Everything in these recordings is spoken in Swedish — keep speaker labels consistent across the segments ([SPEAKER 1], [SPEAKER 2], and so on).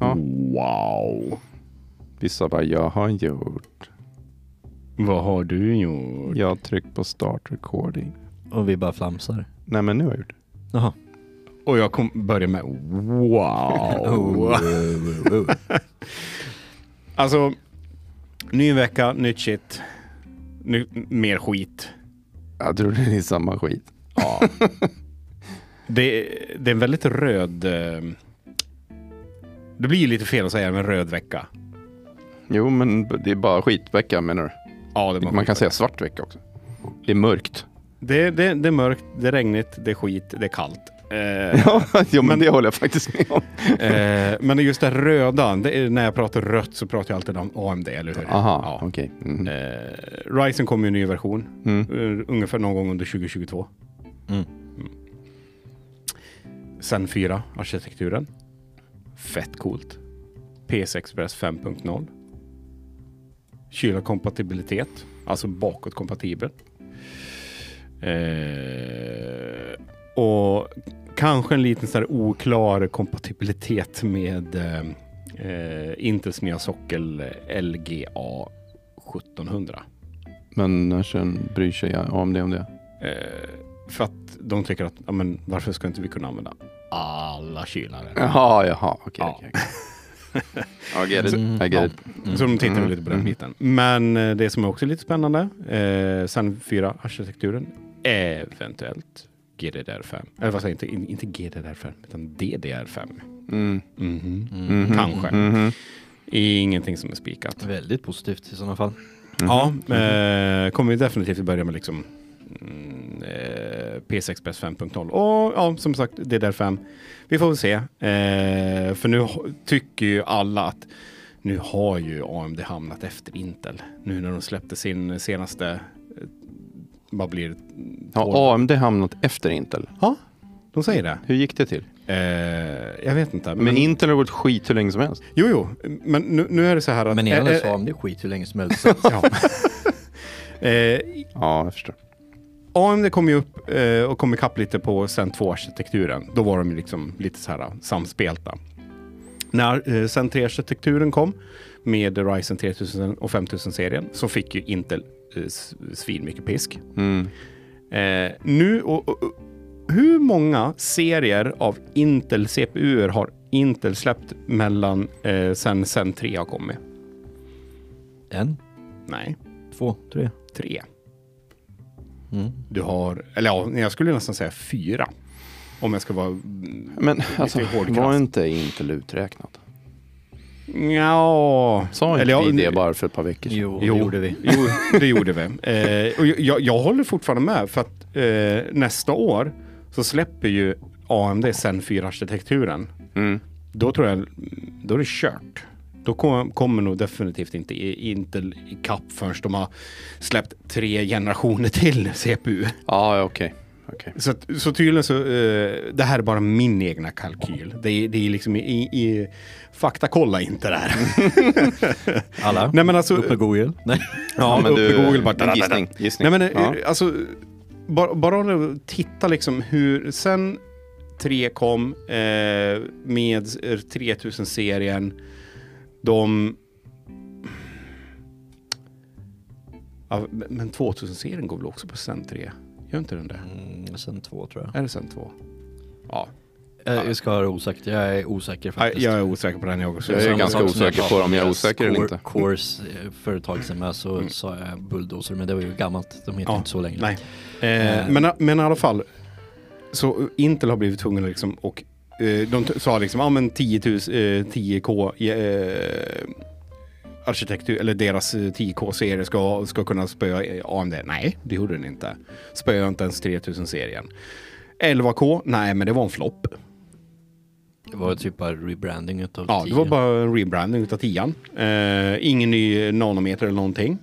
[SPEAKER 1] Ja.
[SPEAKER 2] Wow.
[SPEAKER 1] Mm. Vissa bara, jag har gjort.
[SPEAKER 2] Vad har du gjort?
[SPEAKER 1] Jag har tryckt på start recording.
[SPEAKER 3] Och vi bara flamsar.
[SPEAKER 1] Nej men nu har jag gjort det.
[SPEAKER 3] Jaha.
[SPEAKER 2] Och jag kom, börjar med wow.
[SPEAKER 3] Mm.
[SPEAKER 2] alltså, ny vecka, nytt shit. Ny, mer skit.
[SPEAKER 1] Jag tror det är samma skit.
[SPEAKER 2] Ja. det, det är en väldigt röd... eh, Det blir ju lite fel att säga en röd vecka.
[SPEAKER 1] Jo men det är bara skitvecka menar du?
[SPEAKER 2] Ja, det, var
[SPEAKER 1] Man kan
[SPEAKER 2] skit.
[SPEAKER 1] säga svart vecka också. Det är mörkt.
[SPEAKER 2] det, det, det är mörkt, det är regnigt, det är skit, det är kallt. Eh,
[SPEAKER 1] Ja, jo, men,
[SPEAKER 2] Men-
[SPEAKER 1] det håller jag faktiskt med om.
[SPEAKER 2] eh, men just det röda, det är, när jag pratar rött så pratar jag alltid om AMD, eller hur?
[SPEAKER 1] Aha,
[SPEAKER 2] Ja.
[SPEAKER 1] okej. Mm.
[SPEAKER 2] Eh, Ryzen kom ju en ny version,
[SPEAKER 1] Mm.
[SPEAKER 2] eh, ungefär någon gång under 2022.
[SPEAKER 3] Mm.
[SPEAKER 2] Zen 4, arkitekturen. Fett coolt. PS Express 5.0. Kylarkompatibilitet, alltså bakåtkompatibel. Eh, och kanske en liten sån här oklar kompatibilitet med eh, eh, Intels nya sockel eh, LGA 1700.
[SPEAKER 1] Men eh, sen bryr sig jag om det om det.
[SPEAKER 2] Eh, för att de tycker att, ja, men varför ska inte vi kunna använda alla kylare?
[SPEAKER 1] Jaha, jaha. Okej.
[SPEAKER 2] Ja.
[SPEAKER 1] Okay, I get it. I get
[SPEAKER 2] Ja.
[SPEAKER 1] it.
[SPEAKER 2] Så de tittar
[SPEAKER 1] Mm.
[SPEAKER 2] lite på den
[SPEAKER 1] Mm.
[SPEAKER 2] biten. Men eh, det som är också lite spännande, eh, Zen 4-arkitekturen, eventuellt GDDR5. Eller vad säger jag, inte, inte GDDR5, utan DDR5.
[SPEAKER 1] Mm.
[SPEAKER 2] Mhm.
[SPEAKER 1] Mhm.
[SPEAKER 2] Kanske.
[SPEAKER 1] Mhm.
[SPEAKER 2] Ingenting som är spikat.
[SPEAKER 3] Väldigt positivt i sådana fall.
[SPEAKER 2] Ja, eh, kommer vi definitivt börja med liksom mm, eh, PC Express 5.0 och ja, som sagt DDR5. Vi får väl se, eh, för nu ho- tycker ju alla att nu har ju AMD hamnat efter Intel. Nu när de släppte sin senaste, eh, vad blir det?
[SPEAKER 1] Har AMD hamnat efter Intel?
[SPEAKER 2] De säger det.
[SPEAKER 1] Hur gick det till?
[SPEAKER 2] Eh, jag vet inte.
[SPEAKER 1] Men, Intel har varit skit hur länge som helst.
[SPEAKER 2] jo, jo, men nu, nu är det så här att...
[SPEAKER 3] Men
[SPEAKER 2] eh,
[SPEAKER 3] innan
[SPEAKER 2] eh,
[SPEAKER 3] dess var det skit hur länge som helst.
[SPEAKER 2] ja. eh,
[SPEAKER 1] Ja, jag förstår.
[SPEAKER 2] AMD kom ju upp eh, och kom ikapp lite på Zen 2-arkitekturen. Då var de ju liksom lite så här samspelta. När eh, Zen 3-arkitekturen kom med Ryzen 3000 och 5000-serien så fick ju Intel eh, s- svinmycket pisk.
[SPEAKER 1] Mm.
[SPEAKER 2] Eh, nu, och, och, och, hur många serier av Intel CPUer har Intel släppt mellan eh, sen Zen 3 har kommit?
[SPEAKER 3] En,
[SPEAKER 2] Nej,
[SPEAKER 3] två, tre.
[SPEAKER 2] tre.
[SPEAKER 3] Mm.
[SPEAKER 2] Du har, eller ja, jag skulle nästan säga fyra. Om jag ska vara mm,
[SPEAKER 1] Men alltså,
[SPEAKER 2] hård
[SPEAKER 1] var
[SPEAKER 2] kraft.
[SPEAKER 1] inte Intel uträknat?
[SPEAKER 2] Ja.
[SPEAKER 1] Sa inte
[SPEAKER 2] ja,
[SPEAKER 1] vi det
[SPEAKER 2] nu-
[SPEAKER 1] bara för ett par veckor sedan?
[SPEAKER 3] Jo,
[SPEAKER 2] Jo.
[SPEAKER 3] det gjorde vi.
[SPEAKER 2] Jo, det gjorde vi. Eh, och jag- jag, jag håller fortfarande med för att eh, nästa år så släpper ju AMD sen 4-arkitekturen.
[SPEAKER 1] Mm.
[SPEAKER 2] Då tror jag, mm, då är det kört. Då kom, kommer nog definitivt inte i- Intel ikapp förrän de har släppt tre generationer till CPU.
[SPEAKER 1] Ja, ja, okej. Okej.
[SPEAKER 2] Så, att- så tydligen så, eh, det här är bara min egna kalkyl. Det, är- det är liksom i, i, i faktakolla inte det här.
[SPEAKER 3] Alla.
[SPEAKER 2] Nej men alltså,
[SPEAKER 3] Upp med Google. Nej.
[SPEAKER 2] Ja,
[SPEAKER 1] men
[SPEAKER 2] upp
[SPEAKER 1] du,
[SPEAKER 2] i Google bara.
[SPEAKER 1] en gissning. gissning.
[SPEAKER 2] Nej men eh,
[SPEAKER 1] ja.
[SPEAKER 2] alltså, bara, bara att titta liksom hur, sen 3 kom eh, med 3000-serien, de... Ja, men- men 2000-serien går väl också på sen 3? Gör inte den det?
[SPEAKER 3] Mm, sen två tror jag.
[SPEAKER 2] Är det sen 2? Ja,
[SPEAKER 3] Eh, Jag ska ha det osäkert. Jag är osäker
[SPEAKER 2] Nej,
[SPEAKER 3] faktiskt.
[SPEAKER 2] jag är osäker på den jag också.
[SPEAKER 1] Jag är
[SPEAKER 3] Samma
[SPEAKER 1] ganska
[SPEAKER 3] sak som
[SPEAKER 1] osäker
[SPEAKER 3] jag
[SPEAKER 1] på om jag är
[SPEAKER 3] pratade
[SPEAKER 1] osäker eller
[SPEAKER 3] Core-
[SPEAKER 1] inte. Mm.
[SPEAKER 3] Cores eh, företag som jag så sa jag bulldozer, men det var ju gammalt. De heter
[SPEAKER 2] Ja,
[SPEAKER 3] inte så länge.
[SPEAKER 2] Nej. Eh, men, men i alla fall, så Intel har blivit tvungna liksom och eh, de t- sa liksom, ja ah, men 10 000, eh, 10K i, eh, arkitektur, eller deras eh, 10K-serie ska, ska kunna spöa eh, AMD. Nej, det gjorde den inte. Spöade inte ens 3000-serien. 11K, nej men det var en flopp.
[SPEAKER 3] Det var typ bara rebranding utav
[SPEAKER 2] Ja, det
[SPEAKER 3] tio.
[SPEAKER 2] var bara en rebranding utav 10 eh, Ingen ny nanometer eller någonting.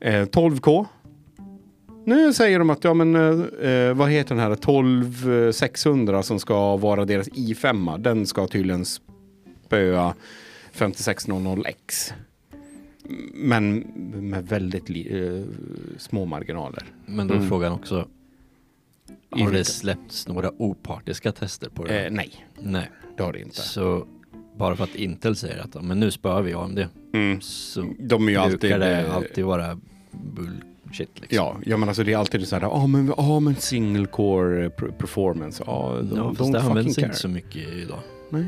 [SPEAKER 2] Eh, 12K. Nu säger de att, ja men eh, eh, vad heter den här 12600 som ska vara deras i5? Den ska tydligen spöa 5600X. Men med väldigt li- eh, små marginaler.
[SPEAKER 3] Men då är
[SPEAKER 1] Mm.
[SPEAKER 3] frågan också.
[SPEAKER 2] I
[SPEAKER 3] Har det
[SPEAKER 2] vilka?
[SPEAKER 3] släppts några opartiska tester på det?
[SPEAKER 2] Eh, nej,
[SPEAKER 3] Nej.
[SPEAKER 2] det har det inte.
[SPEAKER 3] Så Bara för att Intel säger att "Ja, men nu spöar vi AMD.
[SPEAKER 2] Mm.
[SPEAKER 3] Så
[SPEAKER 2] De är ju alltid... eh,
[SPEAKER 3] brukar det alltid vara bullshit liksom.
[SPEAKER 2] alltså Ja, ja men alltså det är alltid så här, ja men, ah, men single core eh, pr- performance, ja de
[SPEAKER 3] Ja, fast
[SPEAKER 2] don't
[SPEAKER 3] det
[SPEAKER 2] fucking
[SPEAKER 3] används
[SPEAKER 2] care.
[SPEAKER 3] inte så mycket idag.
[SPEAKER 2] Nej,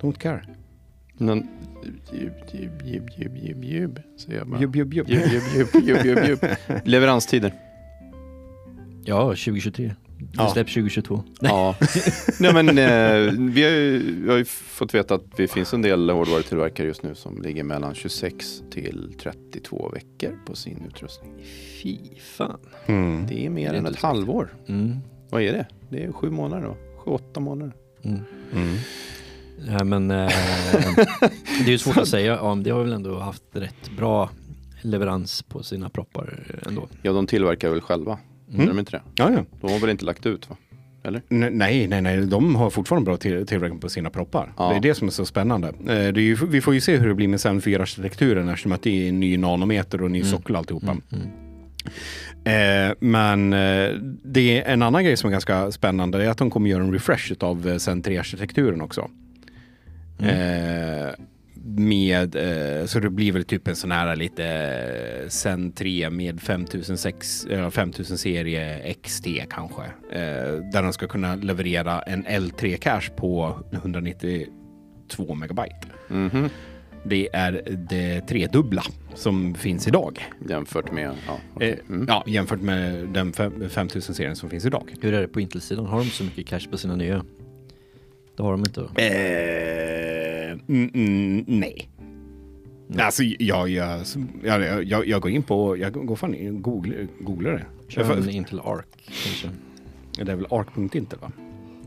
[SPEAKER 2] don't care.
[SPEAKER 1] Men, jub, jub, jub, jub, jub, jub, säger jag bara. Jub,
[SPEAKER 2] Jubb, jubb, jubb.
[SPEAKER 1] jub, jub, jub, jub, jub. Leveranstider.
[SPEAKER 3] Ja, 2023. Det
[SPEAKER 2] Ja.
[SPEAKER 3] släpps 2022.
[SPEAKER 1] Ja. Nej men eh, vi har ju, vi har ju fått veta att det finns en del hårdvarutillverkare just nu som ligger mellan 26 till 32 veckor på sin utrustning.
[SPEAKER 3] Fy fan.
[SPEAKER 2] Mm.
[SPEAKER 1] Det är mer
[SPEAKER 3] Det
[SPEAKER 1] än
[SPEAKER 3] är inte
[SPEAKER 1] ett
[SPEAKER 3] så
[SPEAKER 1] halvår.
[SPEAKER 3] Mm.
[SPEAKER 1] Vad är det? Det är sju månader då? Sju, åtta månader?
[SPEAKER 3] Mm.
[SPEAKER 2] Mm.
[SPEAKER 3] Nej, men eh, det är ju svårt att säga. AMD har väl ändå haft rätt bra leverans på sina proppar ändå.
[SPEAKER 1] Ja, de tillverkar väl själva? Gör de inte det?
[SPEAKER 2] Ja, ja.
[SPEAKER 1] De har väl inte lagt ut va? Eller?
[SPEAKER 2] N- Nej, nej, nej, de har fortfarande bra till- tillverkning på sina proppar.
[SPEAKER 1] Ja.
[SPEAKER 2] Det är det som är så spännande. Eh, Det är ju, vi får ju se hur det blir med Zen 4-arkitekturen eftersom att det är en ny nanometer och en ny
[SPEAKER 3] Mm.
[SPEAKER 2] sockel och alltihopa. Eh, men eh, det är en annan grej som är ganska spännande det är att de kommer göra en refresh av Zen 3-arkitekturen också.
[SPEAKER 3] Mm.
[SPEAKER 2] Eh, med, eh, så det blir väl typ en sån här lite eh, Zen 3 med eh, 5006, eller 5000 serie XT kanske. Eh, där de ska kunna leverera en L3 cache på 192 megabyte.
[SPEAKER 1] Mhm.
[SPEAKER 2] Det är det tredubbla som finns idag.
[SPEAKER 1] Jämfört med... Ja, okej. Mm.
[SPEAKER 2] Eh, ja, jämfört med den fem- 5000-serien som finns idag.
[SPEAKER 3] Hur är det på Intel-sidan? Har de så mycket cash på sina nya? Det har de inte. va?
[SPEAKER 2] Eh, mm, mm, nej. Alltså, jag, jag, jag, jag, jag går in på, jag går fan in, googlar, googlar det. Jag,
[SPEAKER 3] Kör en
[SPEAKER 2] får-
[SPEAKER 3] Intel Arc kanske?
[SPEAKER 2] det är väl ark.intel va?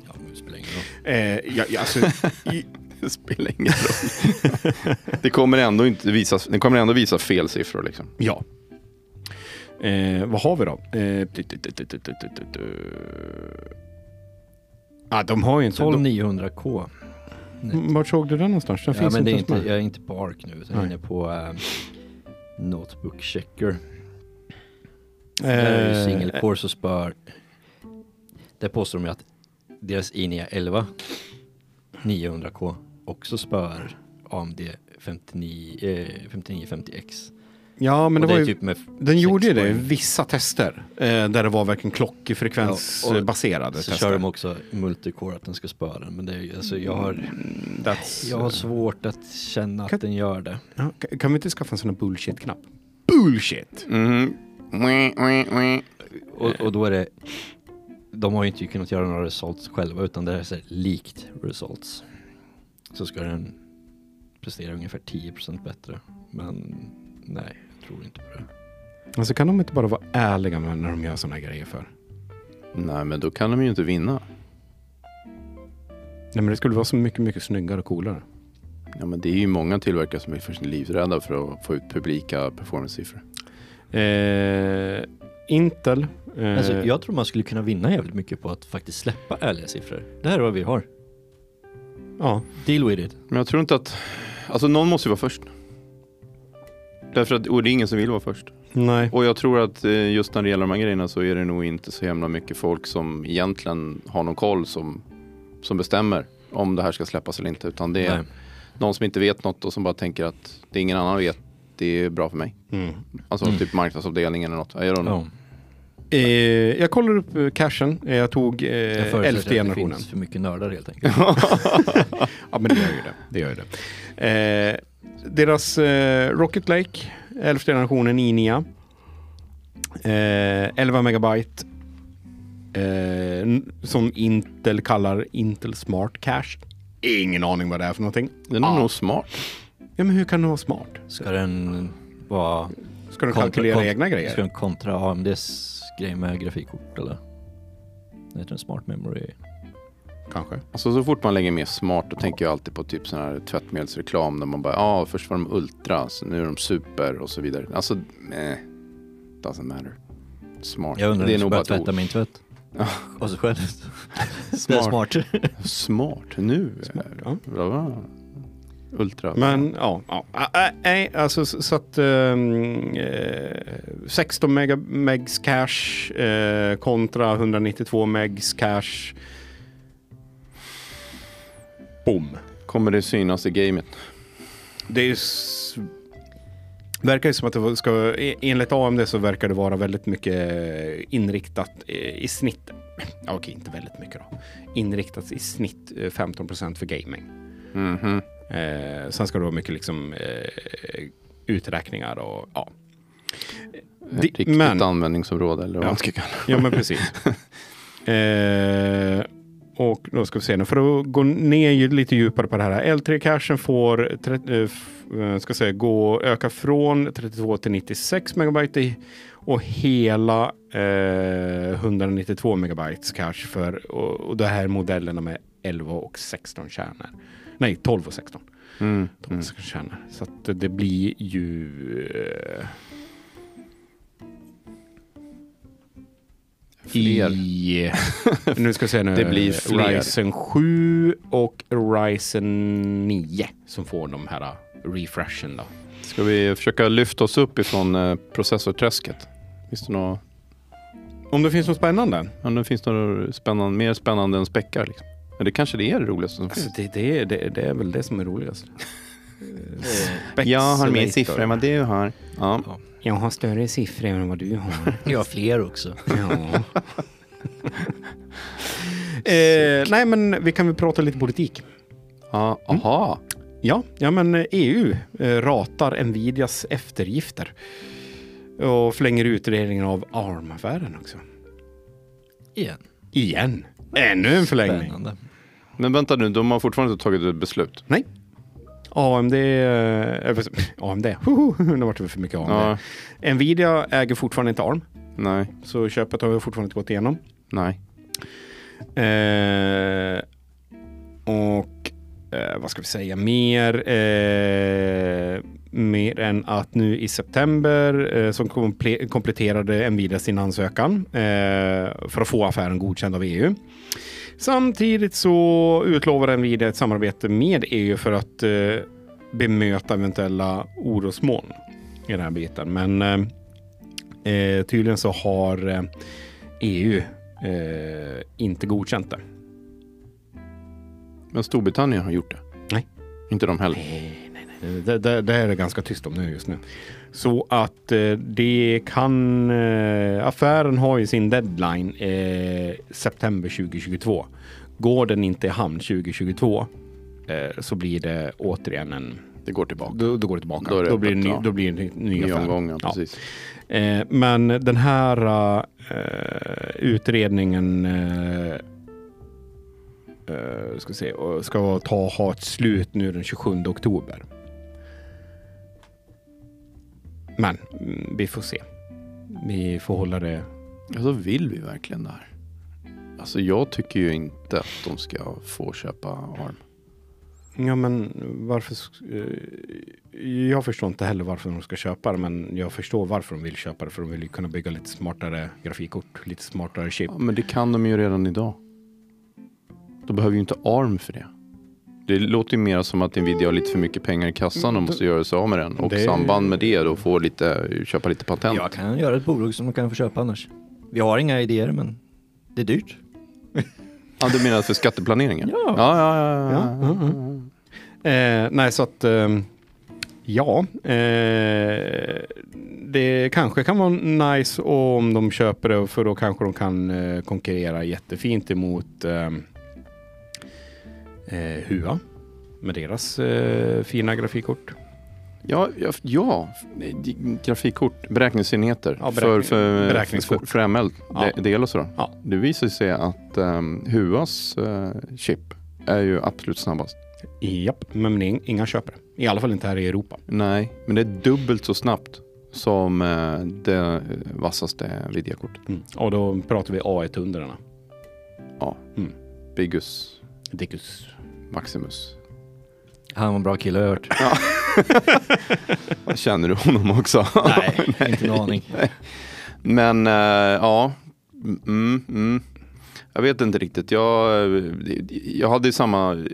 [SPEAKER 3] Ja, men det spelar ingen roll.
[SPEAKER 2] Eh, jag, jag, alltså, i,
[SPEAKER 1] Det spelar ingen roll. det, kommer ändå inte visa, det kommer ändå visa fel siffror liksom.
[SPEAKER 2] ja. Eh, vad har vi då? Eh, tut, tut, tut, tut, tut, tut, tut, tut. Ah, de har ju inte...
[SPEAKER 3] 12900K.
[SPEAKER 2] de, vart såg du den någonstans? Den
[SPEAKER 3] Ja,
[SPEAKER 2] finns
[SPEAKER 3] men det är
[SPEAKER 2] ens
[SPEAKER 3] inte,
[SPEAKER 2] med.
[SPEAKER 3] jag är inte på Arc nu, utan jag
[SPEAKER 2] Nej.
[SPEAKER 3] är inne på eh, Notebook Checker. Där är ju
[SPEAKER 2] Eh,
[SPEAKER 3] single core så spör. Där påstår de ju att deras E Inia 11 900K också spör AMD 59, eh, 5950X.
[SPEAKER 2] Ja, men
[SPEAKER 3] Och
[SPEAKER 2] det var
[SPEAKER 3] är
[SPEAKER 2] ju...
[SPEAKER 3] typ med f-
[SPEAKER 2] Den
[SPEAKER 3] sex
[SPEAKER 2] gjorde ju det i
[SPEAKER 3] poäng.
[SPEAKER 2] vissa tester eh, där det var verkligen klockfrekvensbaserade
[SPEAKER 3] Så
[SPEAKER 2] tester.
[SPEAKER 3] kör de också multicore att den ska spöa den. Men det är, ju- alltså, jag, har,
[SPEAKER 2] Mm. That's,
[SPEAKER 3] jag har svårt att känna att den gör det.
[SPEAKER 2] ja, ka- kan vi inte skaffa en sån här bullshit-knapp? Bullshit!
[SPEAKER 1] Mhm. Mwah, mwah, mwah.
[SPEAKER 3] Och, och då är det, de har ju inte kunnat göra några results själva utan det är så här, likt results. Så ska den prestera ungefär 10% bättre. Men nej, jag tror inte på det.
[SPEAKER 2] Alltså kan de inte bara vara ärliga med när de gör såna här grejer för?
[SPEAKER 1] Nej, men då kan de ju inte vinna.
[SPEAKER 2] Nej men det skulle vara så mycket, mycket snyggare och coolare.
[SPEAKER 1] Ja, men det är ju många tillverkare som är för sin livrädda för att få ut publika performance-siffror.
[SPEAKER 2] Eh, Intel. Eh,
[SPEAKER 3] Alltså, jag tror man skulle kunna vinna jävligt mycket på att faktiskt släppa ärliga siffror. Det här är vad vi har.
[SPEAKER 2] Ja.
[SPEAKER 3] Deal with it.
[SPEAKER 1] Men jag tror inte att... Alltså någon måste ju vara först. Därför att, och det är ingen som vill vara först.
[SPEAKER 2] Nej.
[SPEAKER 1] Och jag tror att eh, just när det gäller de här grejerna så är det nog inte så himla mycket folk som egentligen har någon koll som, som bestämmer om det här ska släppas eller inte. Utan det är
[SPEAKER 3] Nej.
[SPEAKER 1] någon som inte vet något och som bara tänker att det ingen annan vet, det är bra för mig.
[SPEAKER 2] Mm.
[SPEAKER 1] Alltså
[SPEAKER 3] Mm.
[SPEAKER 1] typ marknadsavdelningen eller något. I don't know.
[SPEAKER 3] Ja,
[SPEAKER 2] Eh, jag kollar upp eh, cashen. Eh, Jag tog eh,
[SPEAKER 3] jag förutsätter
[SPEAKER 2] elfte
[SPEAKER 3] att det
[SPEAKER 2] generationen.
[SPEAKER 3] finns för mycket nördar helt enkelt.
[SPEAKER 2] Ja, men det gör ju det. det, gör ju det. Eh, deras eh, Rocket Lake, 11 generationen i 9 eh, 11 megabyte, eh, n- som Intel kallar Intel Smart Cache. Ingen aning vad det är för någonting.
[SPEAKER 1] Den är
[SPEAKER 2] Ja.
[SPEAKER 1] nog smart.
[SPEAKER 2] Ja, men hur kan det vara smart?
[SPEAKER 3] Ska den vara...
[SPEAKER 2] Ska de kalkylera
[SPEAKER 3] kontra-
[SPEAKER 2] egna grejer?
[SPEAKER 3] Ska den kontra AMDs grej med grafikkort eller? Det heter en smart memory.
[SPEAKER 2] Kanske.
[SPEAKER 1] Alltså så fort man lägger med smart då tänker jag alltid på typ sån här tvättmedelsreklam där man bara, ja ah, först var de ultra, så nu är de super och så vidare. Alltså, eh, doesn't matter. Smart.
[SPEAKER 3] Jag undrar
[SPEAKER 1] det
[SPEAKER 3] om
[SPEAKER 1] är
[SPEAKER 3] jag ska
[SPEAKER 1] nog bara
[SPEAKER 3] börja
[SPEAKER 1] ett
[SPEAKER 3] tvätta
[SPEAKER 1] ord.
[SPEAKER 3] min tvätt.
[SPEAKER 1] Ja.
[SPEAKER 3] Och så själv. Det är
[SPEAKER 1] Smart.
[SPEAKER 3] smart.
[SPEAKER 1] Smart nu.
[SPEAKER 2] Smart,
[SPEAKER 1] eh,
[SPEAKER 2] ja.
[SPEAKER 1] bla, bla. Ultra.
[SPEAKER 2] Men ja, ja. Ä- ä- nej, alltså så, så att ehm, eh, 16 mega, megs cash eh, kontra 192 megs cash. Boom.
[SPEAKER 1] Kommer det synas i gamet?
[SPEAKER 2] Det är ju s- verkar ju som att det ska, e, enligt AMD så verkar det vara väldigt mycket inriktat eh, i i snitt. Ja, okej, inte väldigt mycket då. Inriktat i snitt eh, 15 för gaming.
[SPEAKER 1] Mhm.
[SPEAKER 2] Eh, sen ska det vara mycket liksom eh, uträkningar och ja.
[SPEAKER 1] Ett
[SPEAKER 2] Det-
[SPEAKER 1] riktigt
[SPEAKER 2] men-
[SPEAKER 1] användningsområde eller vad man ska kalla det.
[SPEAKER 2] Ja, men precis. eh, och då ska vi se nu, för att gå ner ju lite djupare på det här. L3-cachen får tre- eh, f- eh, ska säga, gå, öka från 32 till 96 megabyte i, och hela eh, 192 megabytes cache för och, och det här är modellerna med 11 och 16 kärnor. Nej, 12 och 16.
[SPEAKER 1] Mm.
[SPEAKER 2] De
[SPEAKER 1] Mm.
[SPEAKER 2] som tjänar. Så att det blir ju... eh,
[SPEAKER 1] Fler.
[SPEAKER 2] I, nu ska jag säga nu.
[SPEAKER 1] Det blir
[SPEAKER 2] eh,
[SPEAKER 1] fler.
[SPEAKER 2] Ryzen 7 och Ryzen 9 som får de här eh, refreshen då.
[SPEAKER 1] Ska vi försöka lyfta oss upp ifrån eh, processorträsket? Finns det något,
[SPEAKER 2] Om det finns något spännande?
[SPEAKER 1] ja, det finns något spännande, mer spännande än späckar? Liksom. Eller kanske det är det roligaste som finns?
[SPEAKER 2] Alltså det, det, det, det är väl det som är roligast. Eh,
[SPEAKER 1] vad du har. Ja.
[SPEAKER 2] Jag har större siffror än vad du har.
[SPEAKER 3] Jag har fler också.
[SPEAKER 2] Ja. eh, nej, men vi kan väl prata lite politik.
[SPEAKER 1] Ja, Mm. aha.
[SPEAKER 2] Ja, ja men eh, EU eh, ratar Nvidias eftergifter och förlänger utredningen av ARM-affären också.
[SPEAKER 3] Igen.
[SPEAKER 2] Igen. Ännu en förlängning.
[SPEAKER 3] Spännande.
[SPEAKER 1] Men vänta nu, de har fortfarande inte tagit ett beslut.
[SPEAKER 2] Nej. AMD, eh, eh, AMD, hoho, nu vart det för mycket AMD. Nvidia äger fortfarande inte ARM,
[SPEAKER 1] Nej,
[SPEAKER 2] så köpet har fortfarande inte gått igenom.
[SPEAKER 1] nej.
[SPEAKER 2] Eh, och eh, vad ska vi säga mer? Eh, mer än att nu i september eh, som komple- kompletterade Nvidia sin ansökan eh, för att få affären godkänd av EU. Samtidigt så utlovar Nvidia ett samarbete med EU för att eh, bemöta eventuella orosmoln i den här biten. Men eh, eh, tydligen så har eh, EU eh, inte godkänt det.
[SPEAKER 1] Men Storbritannien har gjort det.
[SPEAKER 2] Nej.
[SPEAKER 1] Inte de heller.
[SPEAKER 2] Eh, Det, det, det är det ganska tyst om nu just nu. Så att eh, det kan... Eh, affären har ju sin deadline eh, september 2022. Går den inte i hamn 2022 eh, så blir det återigen en...
[SPEAKER 1] Det går tillbaka.
[SPEAKER 2] Då, då går det tillbaka.
[SPEAKER 1] Då
[SPEAKER 2] Då,
[SPEAKER 1] är det
[SPEAKER 2] blir, det
[SPEAKER 1] öppet,
[SPEAKER 2] ny,
[SPEAKER 1] ja.
[SPEAKER 2] då blir det en ny, ny
[SPEAKER 1] Ny
[SPEAKER 2] affär.
[SPEAKER 1] omgång, ja,
[SPEAKER 2] Ja.
[SPEAKER 1] precis.
[SPEAKER 2] Eh, men den här eh, utredningen eh, eh, ska, se, och ska ta, ha ett slut nu den 27 oktober. Men mm, vi får se. Vi får hålla det.
[SPEAKER 1] Alltså vill vi verkligen det här? Alltså jag tycker ju inte att de ska få köpa ARM.
[SPEAKER 2] Ja, men varför? sk- eh, Jag förstår inte heller varför de ska köpa det, men jag förstår varför de vill köpa det, för de vill ju kunna bygga lite smartare grafikkort, lite smartare chip.
[SPEAKER 1] Ja, men det kan de ju redan idag. De behöver ju inte ARM för det. Det låter ju mer som att Nvidia har lite för mycket pengar i kassan och måste göra sig av med den. Och
[SPEAKER 2] Det-
[SPEAKER 1] i samband med det då få lite, köpa lite patent.
[SPEAKER 3] Jag kan göra ett bolag som de kan få köpa annars. Vi har inga idéer men det är dyrt.
[SPEAKER 1] Ja, du menar för skatteplaneringen?
[SPEAKER 3] Ja.
[SPEAKER 1] Ja, ja, ja, ja. Mm,
[SPEAKER 2] Ja, ja, Eh, nej, så att ehm, ja, eh, det kanske kan vara nice om de köper det för då kanske de kan eh, konkurrera jättefint emot ehm, eh, Hua med deras eh, fina grafikkort.
[SPEAKER 1] Ja, ja, ja. grafikkort, beräkningsenheter
[SPEAKER 2] Ja, beräkning-
[SPEAKER 1] för, för,
[SPEAKER 2] beräkningskort.
[SPEAKER 1] för, för ML,
[SPEAKER 2] Ja.
[SPEAKER 1] de- del och sådär.
[SPEAKER 2] Ja.
[SPEAKER 1] Det visar sig att um, Huas eh, chip är ju absolut snabbast.
[SPEAKER 2] Japp, men ing- inga köper det. I alla fall inte här i Europa.
[SPEAKER 1] Nej, men det är dubbelt så snabbt som eh, det vassaste Nvidia-kortet.
[SPEAKER 2] Mm. Och då pratar vi A100.
[SPEAKER 1] Bigus
[SPEAKER 2] Dickus.
[SPEAKER 1] Maximus.
[SPEAKER 3] Han var en bra kille har jag hört.
[SPEAKER 1] Känner du honom också?
[SPEAKER 3] Nej, inte en aning.
[SPEAKER 1] Men eh, ja, mm, mm. jag vet inte riktigt. Jag, eh, jag hade ju samma,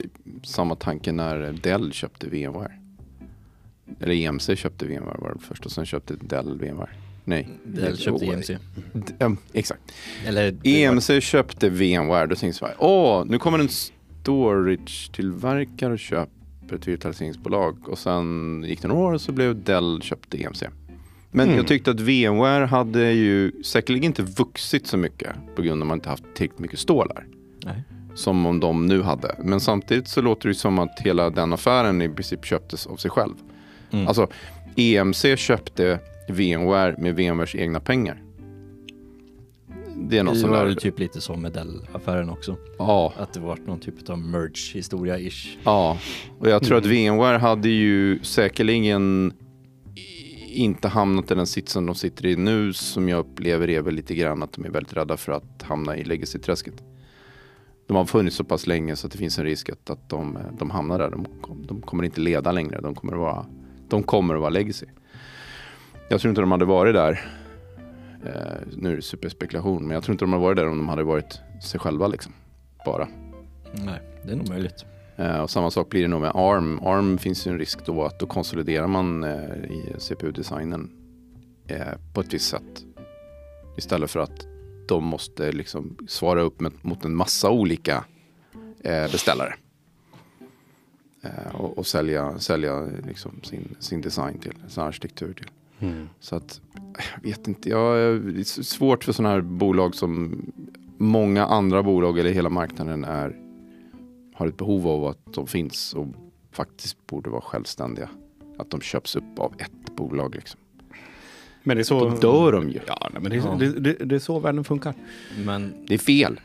[SPEAKER 1] samma tanke när Dell köpte VMware. Eller EMC köpte VMware var det först och sen köpte Dell VMware. Nej,
[SPEAKER 3] Dell köpte EMC.
[SPEAKER 1] D- ehm, exakt.
[SPEAKER 3] Eller det var-
[SPEAKER 1] E EMC köpte VMware, då tänkte jag så här, åh, nu kommer en s- storage-tillverkare och köper ett virtualiseringsbolag. Och sen gick det några år och så blev Dell köpt EMC. Men
[SPEAKER 2] Mm.
[SPEAKER 1] jag tyckte att VMware hade ju säkerligen inte vuxit så mycket på grund av att man inte haft tillräckligt mycket stålar.
[SPEAKER 3] Nej.
[SPEAKER 1] Som om de nu hade. Men samtidigt så låter det ju som att hela den affären i princip köptes av sig själv.
[SPEAKER 3] Mm.
[SPEAKER 1] Alltså EMC köpte VMware med VMwares egna pengar. Det är något
[SPEAKER 3] det
[SPEAKER 1] sånt
[SPEAKER 3] var
[SPEAKER 1] där.
[SPEAKER 3] väl typ lite som med Dell-affären också.
[SPEAKER 1] Ja.
[SPEAKER 3] Att det var någon typ av merge-historia-ish.
[SPEAKER 1] Ja, och jag tror att VMware hade ju säkerligen i- inte hamnat i den sitsen de sitter i nu som jag upplever är väl lite grann att de är väldigt rädda för att hamna i legacy-träsket. De har funnits så pass länge så att det finns en risk att, att de, de hamnar där. De, kom- de kommer inte leda längre. De kommer, att vara, de kommer att vara legacy. Jag tror inte de hade varit där. Eh, nu är det superspekulation, men jag tror inte de hade varit där om de hade varit sig själva liksom. Bara.
[SPEAKER 3] Nej, det är nog möjligt.
[SPEAKER 1] Eh, Och samma sak blir det nog med ARM. ARM finns ju en risk då att då konsoliderar man eh, i CPU-designen eh, på ett visst sätt. Istället för att de måste liksom svara upp med, mot en massa olika eh, beställare. Eh, och, och sälja, sälja liksom sin, sin design till, sin arkitektur till. Så att, jag vet inte, jag, det är s- svårt för sådana här bolag som många andra bolag eller hela marknaden är, har ett behov av att de finns och faktiskt borde vara självständiga. Att de köps upp av ett bolag liksom.
[SPEAKER 2] Men det är
[SPEAKER 1] Då
[SPEAKER 2] så...
[SPEAKER 1] dör de ju.
[SPEAKER 2] Ja, nej, men det, är-
[SPEAKER 3] Ja.
[SPEAKER 2] Det, det, det är så världen funkar.
[SPEAKER 3] Men
[SPEAKER 1] Det är fel.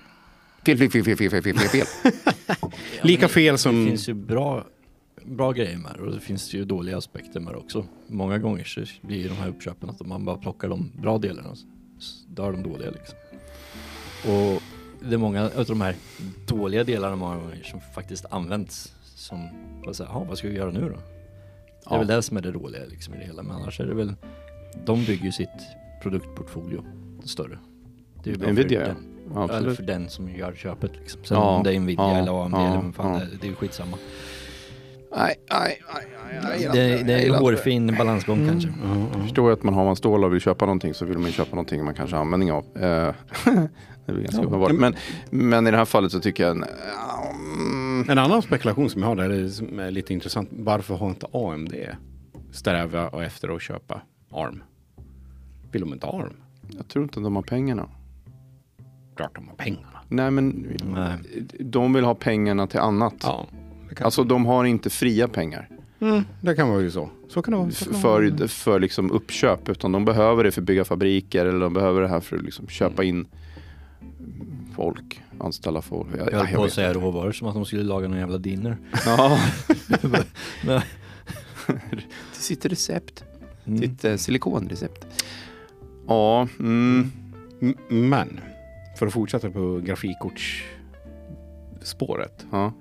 [SPEAKER 1] Fel, fel, fel, fel, fel, fel, fel, fel, fel.
[SPEAKER 2] Lika fel
[SPEAKER 3] det
[SPEAKER 2] som...
[SPEAKER 3] finns ju bra, bra grejer med det och det finns ju dåliga aspekter med det också. Många gånger så blir ju de här uppköpen att man bara plockar de bra delarna och s- dör de dåliga liksom. Och det är många av de här dåliga delarna många gånger som faktiskt används som, vad, säger, "Jaha, vad ska vi göra nu då? Det är
[SPEAKER 1] Ja.
[SPEAKER 3] väl det som är det dåliga liksom i det hela, men annars är det väl, de bygger ju sitt produktportfolio större. Det är ju bra
[SPEAKER 1] Nvidia,
[SPEAKER 3] för
[SPEAKER 1] ja.
[SPEAKER 3] den
[SPEAKER 1] Ja,
[SPEAKER 3] eller
[SPEAKER 1] absolut.
[SPEAKER 3] för den som gör köpet liksom. Sen
[SPEAKER 1] Ja,
[SPEAKER 3] om det är Nvidia
[SPEAKER 1] ja,
[SPEAKER 3] eller AMD
[SPEAKER 1] ja,
[SPEAKER 3] eller vem fan
[SPEAKER 1] ja.
[SPEAKER 3] det är, det är ju skitsamma.
[SPEAKER 1] Nej, nej, nej, nej, nej. jag gillar
[SPEAKER 3] Det,
[SPEAKER 1] inte
[SPEAKER 3] det
[SPEAKER 1] jag gillar
[SPEAKER 3] är en
[SPEAKER 1] inte Mm.
[SPEAKER 3] hårfin balansgång kanske.
[SPEAKER 1] Jag förstår att man har en stål och vill köpa någonting så vill man ju köpa någonting man kanske har användning av. Eh, det är väl ganska uppenbart. Men, men i det här fallet så tycker jag... mm,
[SPEAKER 2] En annan spekulation som jag har där är, som är lite intressant. Varför har inte AMD sträva och efter att köpa ARM? Vill de inte ha ARM?
[SPEAKER 1] Jag tror inte de har pengarna.
[SPEAKER 2] Klart de har pengarna.
[SPEAKER 1] Nej, men
[SPEAKER 3] Nej.
[SPEAKER 1] de vill ha pengarna till annat.
[SPEAKER 2] Ja, det kan,
[SPEAKER 1] Alltså de har inte fria pengar
[SPEAKER 2] mm, det kan vara ju så. Så kan det vara.
[SPEAKER 1] f- för, för liksom uppköp utan de behöver det för att bygga fabriker eller de behöver det här för att liksom köpa in folk, anställa folk. Jag,
[SPEAKER 3] Jag höll på att
[SPEAKER 1] vet.
[SPEAKER 3] säga råvaror som att de skulle laga någon jävla dinner.
[SPEAKER 1] Ja.
[SPEAKER 3] Nej.
[SPEAKER 1] Till sitt recept,
[SPEAKER 3] Mm.
[SPEAKER 1] sitt eh, silikonrecept. Ja, mm,
[SPEAKER 2] M- Men, för att fortsätta på grafikkortsspåret.
[SPEAKER 1] ja,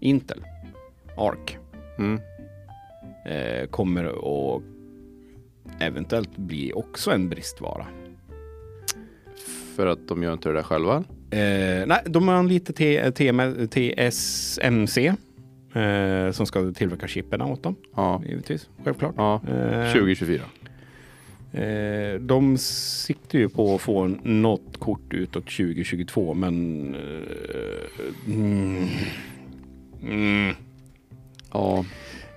[SPEAKER 2] Intel, ARC,
[SPEAKER 1] mm.
[SPEAKER 2] eh, kommer att eventuellt bli också en bristvara.
[SPEAKER 1] För att de gör inte det där själva.
[SPEAKER 2] Eh, nej, de anlitar T- TM- TSMC eh, som ska tillverka chippen åt dem,
[SPEAKER 1] Ja,
[SPEAKER 2] givetvis. Självklart.
[SPEAKER 1] ja.
[SPEAKER 2] Eh,
[SPEAKER 1] 2024.
[SPEAKER 2] Eh, de siktar ju på att få något kort utåt 2022, men... Eh, mm, mm.
[SPEAKER 1] Ja,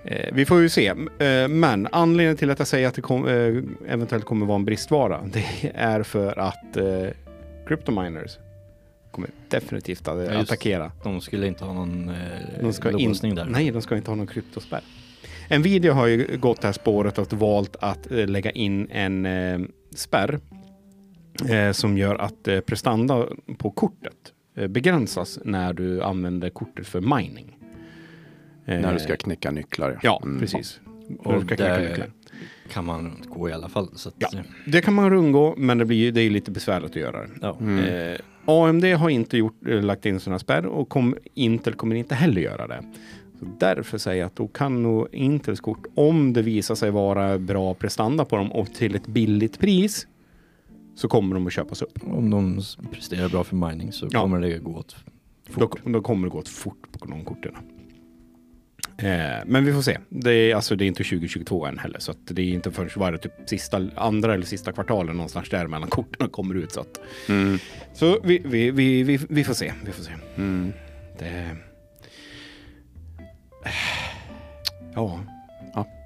[SPEAKER 2] Eh, vi får ju se. Eh, men anledningen till att jag säger att det kom, eh, eventuellt kommer vara en bristvara, det är för att eh, cryptominers kommer definitivt att
[SPEAKER 3] Ja, just.
[SPEAKER 2] attackera.
[SPEAKER 3] De skulle inte ha någon eh,
[SPEAKER 2] De ska
[SPEAKER 3] låsning där.
[SPEAKER 2] Nej, de ska inte ha någon kryptospärr. Nvidia har ju gått det här spåret och valt att eh, lägga in en eh, spärr eh, som gör att eh, prestanda på kortet eh, begränsas när du använder kortet för mining. Eh,
[SPEAKER 1] när du ska knäcka nycklar.
[SPEAKER 2] Ja,
[SPEAKER 1] Mm.
[SPEAKER 2] precis.
[SPEAKER 3] Och
[SPEAKER 2] När du ska knäcka
[SPEAKER 3] där-
[SPEAKER 2] nycklar.
[SPEAKER 3] Kan man gå i alla fall. Så att,
[SPEAKER 2] Ja. Det kan man rundgå, men det, blir, ju- det är ju lite besvärligt att göra det.
[SPEAKER 3] ja.
[SPEAKER 1] Mm.
[SPEAKER 2] Eh, AMD har inte gjort, eh, lagt in sådana spärr och kom, Intel kommer inte heller göra det. Så därför säger jag att då kan nog Intels kort, om det visar sig vara bra prestanda på dem och till ett billigt pris, så kommer de att köpas upp.
[SPEAKER 3] Om de s- presterar bra för mining så
[SPEAKER 2] Ja.
[SPEAKER 3] kommer det gå åt
[SPEAKER 2] Då,
[SPEAKER 3] fort.
[SPEAKER 2] då kommer det gå åt fort på de korten. Eh, men vi får se. Det är, alltså, det är inte 2022 än heller, så att det är inte förrän varje typ sista, andra eller sista kvartalen någonstans där mellan korten kommer ut. Så, att,
[SPEAKER 1] Mm.
[SPEAKER 2] så vi, vi, vi, vi, vi får se. Vi får se.
[SPEAKER 1] Mm.
[SPEAKER 2] Det,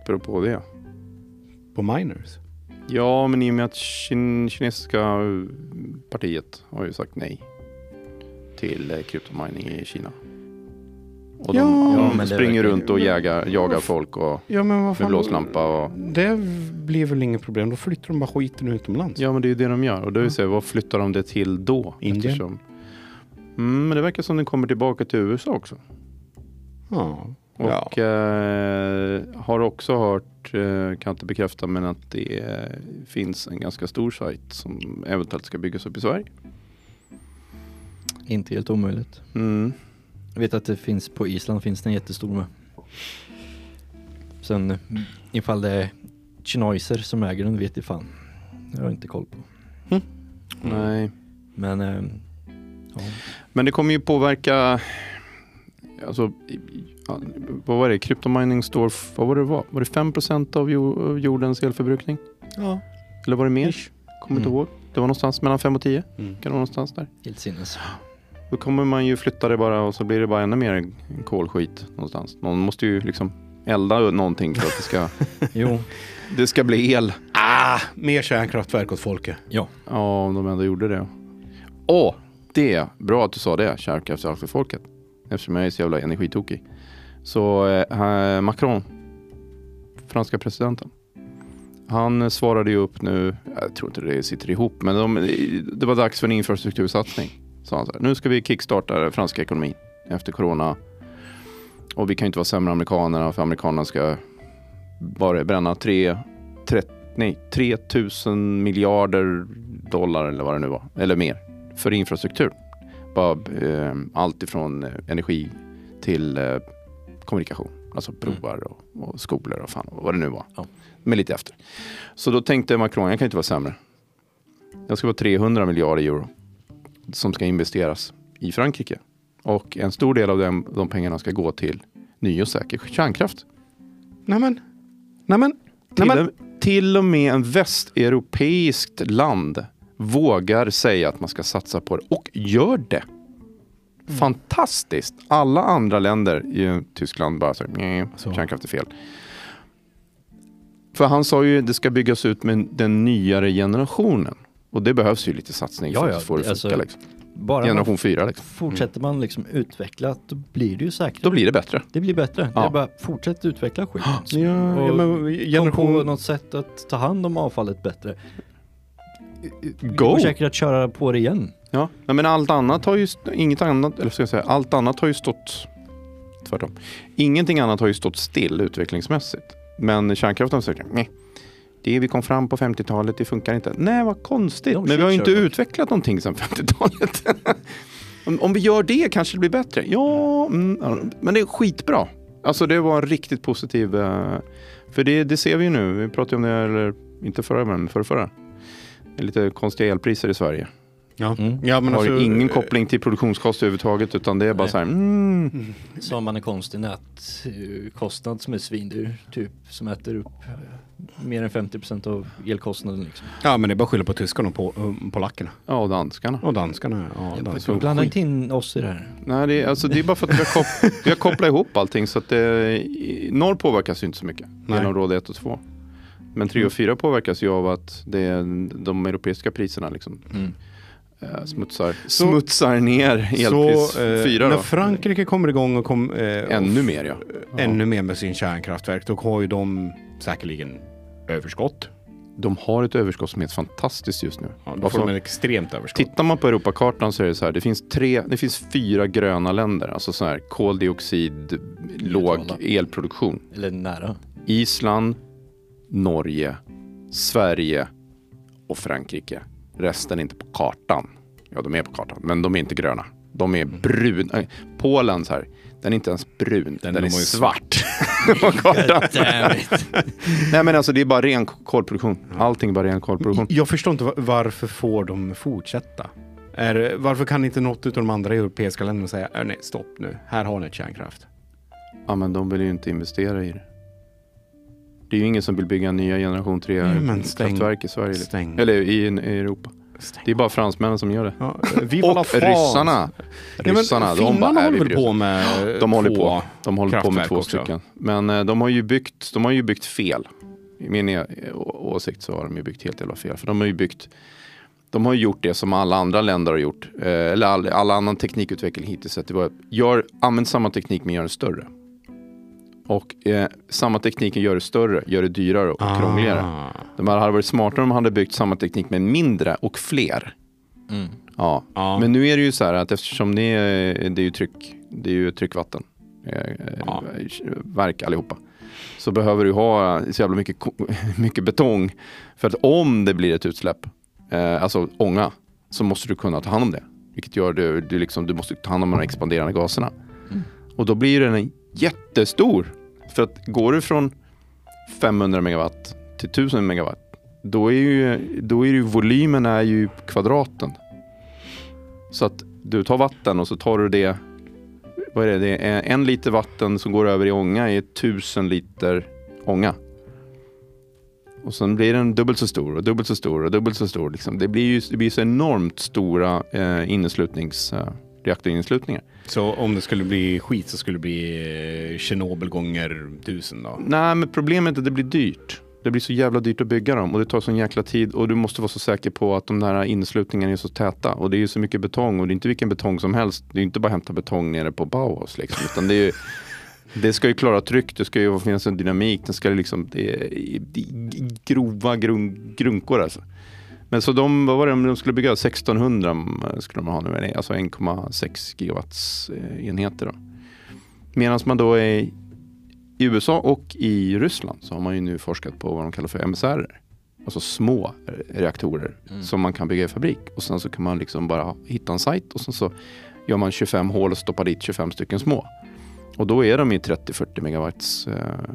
[SPEAKER 1] beror på det.
[SPEAKER 2] På miners?
[SPEAKER 1] Ja, men i och med att kin- kinesiska partiet har ju sagt nej till eh, kryptomining i Kina. Och de,
[SPEAKER 2] Ja.
[SPEAKER 3] Ja,
[SPEAKER 1] de
[SPEAKER 3] men det
[SPEAKER 1] springer
[SPEAKER 3] verkar-
[SPEAKER 1] runt och
[SPEAKER 2] Men-
[SPEAKER 1] jagar, jagar folk och
[SPEAKER 2] Ja men vad
[SPEAKER 1] med
[SPEAKER 2] fan.
[SPEAKER 1] blåslampa. Och,
[SPEAKER 2] Det blir väl inget problem. Då flyttar de bara skiten utomlands.
[SPEAKER 1] ja, men det är ju det de gör. Och då är det så här, vad flyttar de det till då?
[SPEAKER 2] Indien.
[SPEAKER 1] Eftersom, mm, men det verkar som den kommer tillbaka till USA också.
[SPEAKER 2] Ja.
[SPEAKER 1] Och eh, har också hört, eh, kan inte bekräfta, men att det eh, finns en ganska stor sajt som eventuellt ska byggas upp i Sverige.
[SPEAKER 3] Inte helt omöjligt.
[SPEAKER 1] Mm.
[SPEAKER 3] Jag vet att det finns på Island finns det en jättestor med. Sen eh, ifall det är kinesier som äger den vet jag fan. Det har jag inte koll på.
[SPEAKER 1] Nej.
[SPEAKER 3] Men eh, ja.
[SPEAKER 1] Mm. Men det kommer ju påverka, alltså, i- i- ja, vad var det, kryptomining står, f- vad var det var? Var det 5% av jo- av jordens elförbrukning?
[SPEAKER 2] Ja.
[SPEAKER 1] Eller var det mer? Kommer inte
[SPEAKER 3] Mm.
[SPEAKER 1] ihåg. Det var någonstans mellan 5 och 10,
[SPEAKER 2] Mm.
[SPEAKER 1] kan det vara någonstans där.
[SPEAKER 3] helt sinnes.
[SPEAKER 1] Då kommer man ju flytta det bara och så blir det bara ännu mer kolskit någonstans. Någon måste ju liksom elda någonting för att det ska,
[SPEAKER 3] Jo,
[SPEAKER 1] det ska bli el.
[SPEAKER 2] Ah, mer kärnkraftverk åt folket.
[SPEAKER 1] Ja, om de ändå gjorde det. Åh, det är bra att du sa det, kärnkraftsfolket. Eftersom jag är så jävla energitokig. Så eh, Macron, franska presidenten. Han svarade ju upp nu, jag tror inte det sitter ihop, men de, det var dags för en infrastruktursatsning. Sa han så här. Nu ska vi kickstarta den franska ekonomin efter corona. Och vi kan ju inte vara sämre än amerikanerna, för amerikanerna ska bara bränna tre, tre, nej, 3 000 miljarder dollar eller vad det nu var, eller mer, för infrastruktur. Bara, eh, allt ifrån eh, energi till eh, kommunikation, alltså broar och, och skolor och fan vad det nu var.
[SPEAKER 3] Ja.
[SPEAKER 1] Men lite efter. Så då tänkte Macron, jag kan inte vara sämre. Jag ska vara 300 miljarder euro som ska investeras i Frankrike. Och en stor del av dem, de pengarna ska gå till ny och säker kärnkraft.
[SPEAKER 2] Nämen. Nämen.
[SPEAKER 1] Till,
[SPEAKER 2] Nämen.
[SPEAKER 1] och- till och med en västeuropeiskt land vågar säga att man ska satsa på det och gör det.
[SPEAKER 3] Mm.
[SPEAKER 1] Fantastiskt! Alla andra länder i Tyskland bara så, nej,
[SPEAKER 2] Så.
[SPEAKER 1] kärnkraft är fel. För han sa ju att det ska byggas ut med den nyare generationen. Och det behövs ju lite satsning
[SPEAKER 3] Ja,
[SPEAKER 1] för
[SPEAKER 3] ja,
[SPEAKER 1] att få det att
[SPEAKER 3] alltså-
[SPEAKER 1] funka. Liksom.
[SPEAKER 3] bara man
[SPEAKER 1] Generation 4, liksom.
[SPEAKER 3] fortsätter
[SPEAKER 2] Mm.
[SPEAKER 3] man liksom utveckla då blir det ju säkert.
[SPEAKER 1] då blir det bättre.
[SPEAKER 3] Det blir bättre. Det
[SPEAKER 1] Ja.
[SPEAKER 3] är bara fortsätt utveckla skiten.
[SPEAKER 2] Ja, ja,
[SPEAKER 3] Och
[SPEAKER 2] men
[SPEAKER 3] Kom på
[SPEAKER 2] generation...
[SPEAKER 3] något sätt att ta hand om avfallet bättre.
[SPEAKER 1] Go!
[SPEAKER 3] Och säkert att köra på det igen.
[SPEAKER 1] Ja, nej, men allt annat har ju, st- inget annat, eller ska jag säga, allt annat har ju stått, tvärtom. Ingenting annat har ju stått still utvecklingsmässigt. Men kärnkraften har sagt, nej, det vi kom fram på 50-talet, det funkar inte. Nej, vad konstigt,
[SPEAKER 3] No
[SPEAKER 1] men
[SPEAKER 3] shit,
[SPEAKER 1] vi har ju inte
[SPEAKER 3] Sherlock.
[SPEAKER 1] utvecklat någonting sedan 50-talet. om, om vi gör det kanske det blir bättre. Ja, mm, ja, men det är skitbra. Alltså det var en riktigt positiv, eh, för det, det ser vi ju nu, vi pratade om det, eller inte förra, men förra, förra. Det är lite konstiga elpriser i Sverige
[SPEAKER 2] Ja.
[SPEAKER 3] Mm.
[SPEAKER 2] ja, men
[SPEAKER 1] har
[SPEAKER 2] alltså...
[SPEAKER 1] ingen koppling till produktionskost överhuvudtaget utan det är bara
[SPEAKER 3] Nej.
[SPEAKER 1] så här. Mm.
[SPEAKER 3] Som man är konstig nätkostnad som är svindyr, typ som äter upp eh, mer än 50% av elkostnaden. Liksom.
[SPEAKER 2] Ja, men det är bara att skylla på tyskarna och på, um, polackerna.
[SPEAKER 1] Ja, och danskarna.
[SPEAKER 2] Och danskarna. Ja, danskarna.
[SPEAKER 3] Blanda inte in oss i det här.
[SPEAKER 1] Nej, det är, alltså, det är bara för att vi har, kop- vi har kopplat ihop allting så att det, i- norr påverkas ju inte så mycket
[SPEAKER 2] Nej.
[SPEAKER 1] genom råd 1 och 2. Men 3 och 4 påverkas ju av att det är de europeiska priserna liksom
[SPEAKER 3] Mm.
[SPEAKER 1] eh, smutsar,
[SPEAKER 2] Så-
[SPEAKER 1] smutsar ner elpris
[SPEAKER 2] Så, eh,
[SPEAKER 1] 4
[SPEAKER 2] när
[SPEAKER 1] då.
[SPEAKER 2] Frankrike kommer igång och kom, eh,
[SPEAKER 1] Ännu mer ja.
[SPEAKER 2] och- ännu mer med sin kärnkraftverk, då har ju de säkerligen överskott.
[SPEAKER 1] De har ett överskott som är helt fantastiskt just nu.
[SPEAKER 2] Ja, då
[SPEAKER 1] Alltså,
[SPEAKER 2] får de ett extremt överskott.
[SPEAKER 1] Tittar man på Europakartan så är det så här, det finns, tre, det finns fyra gröna länder, alltså så här koldioxid, låg
[SPEAKER 3] Neutrala.
[SPEAKER 1] elproduktion.
[SPEAKER 3] Eller nära.
[SPEAKER 1] Island, Norge, Sverige och Frankrike. Resten är inte på kartan. Ja, de är på kartan, men de är inte gröna. De är bruna. Äh, Polen så här, den är inte ens brun, den,
[SPEAKER 2] de
[SPEAKER 1] är
[SPEAKER 2] har ju
[SPEAKER 1] svart. på kartan.
[SPEAKER 3] Damn it.
[SPEAKER 1] Nej men alltså det är bara ren kolproduktion. Allting är bara ren kolproduktion.
[SPEAKER 2] Jag förstår inte va- varför får de fortsätta? Är, det- varför kan inte något av de andra europeiska länderna säga "Äh, nej, stopp nu, här har ni ett kärnkraft.
[SPEAKER 1] Ja, men de vill ju inte investera i det. Det är ju ingen som vill bygga nya generation
[SPEAKER 2] Nej, men
[SPEAKER 1] 3-kraftverk i Sverige.
[SPEAKER 2] Stäng.
[SPEAKER 1] Eller i, i Europa. Det är bara fransmännen som gör det.
[SPEAKER 2] Ja, vi
[SPEAKER 1] Och ryssarna. Ryssarna,
[SPEAKER 2] ja, men,
[SPEAKER 1] de bara
[SPEAKER 2] finnarna
[SPEAKER 1] är vi
[SPEAKER 2] håller väl
[SPEAKER 1] ryssar.
[SPEAKER 2] på med eh,
[SPEAKER 1] De håller
[SPEAKER 2] två.
[SPEAKER 1] på. De håller på med
[SPEAKER 2] kraftverk
[SPEAKER 1] två
[SPEAKER 2] också.
[SPEAKER 1] stycken. Men eh, de har, ju byggt, de har ju byggt fel. I min eh, å- åsikt så har de ju byggt helt jävla fel. För de har ju byggt de har ju gjort det som alla andra länder har gjort. Eh, eller all, all annan teknikutveckling hittills. Att det var, gör, använd samma teknik men gör den större. Och eh, samma teknik gör det större, gör det dyrare och
[SPEAKER 2] Ah.
[SPEAKER 1] krångligare. De här hade varit smartare om de hade byggt samma teknik men mindre och fler.
[SPEAKER 3] Mm.
[SPEAKER 1] Ja,
[SPEAKER 2] Ja.
[SPEAKER 1] men nu är det ju så här att eftersom det är, det är ju tryck, det är ju tryckvatten, eh,
[SPEAKER 2] Ja.
[SPEAKER 1] eh, verk allihopa, så behöver du ha så jävla mycket, ko- mycket betong. För att om det blir ett utsläpp, eh, alltså ånga, så måste du kunna ta hand om det. Vilket gör du, du, liksom, du måste ta hand om de här expanderande gaserna.
[SPEAKER 3] Mm.
[SPEAKER 1] Och då blir den en jättestor. För att går du från 500 megawatt till 1000 megawatt, då är ju, då är ju volymen är ju kvadraten. Så att du tar vatten och så tar du det, vad är det, det är en liter vatten som går över i ånga är tusen liter ånga. Och sen blir den dubbelt så stor och dubbelt så stor och dubbelt så stor. Liksom. Det blir ju det blir så enormt stora eh, inneslutnings, eh, reaktorinneslutningar.
[SPEAKER 2] Så om det skulle bli skit så skulle det bli eh, Tjernobyl gånger tusen då?
[SPEAKER 1] Nej, men problemet är att det blir dyrt. Det blir så jävla dyrt att bygga dem och det tar sån jäkla tid och du måste vara så säker på att de där inneslutningarna är så täta och det är ju så mycket betong och det är inte vilken betong som helst. Det är ju inte bara att hämta betong nere på Bauhaus liksom, utan det är ju Det ska ju klara tryck, det ska ju finnas en dynamik, den ska ju liksom, det är det är grova grun, grunkor alltså. Men så de, vad var det, de skulle bygga 1600 skulle de ha nu, eller alltså 1,6 gigawatts eh, enheter då. Medan man då är i USA och i Ryssland så har man ju nu forskat på vad de kallar för MSR. Alltså små reaktorer
[SPEAKER 3] Mm.
[SPEAKER 1] som man kan bygga i fabrik och sen så kan man liksom bara hitta en sajt och sen så gör man 25 hål och stoppar dit 25 stycken små. Och då är de i 30-40 megawatts eh,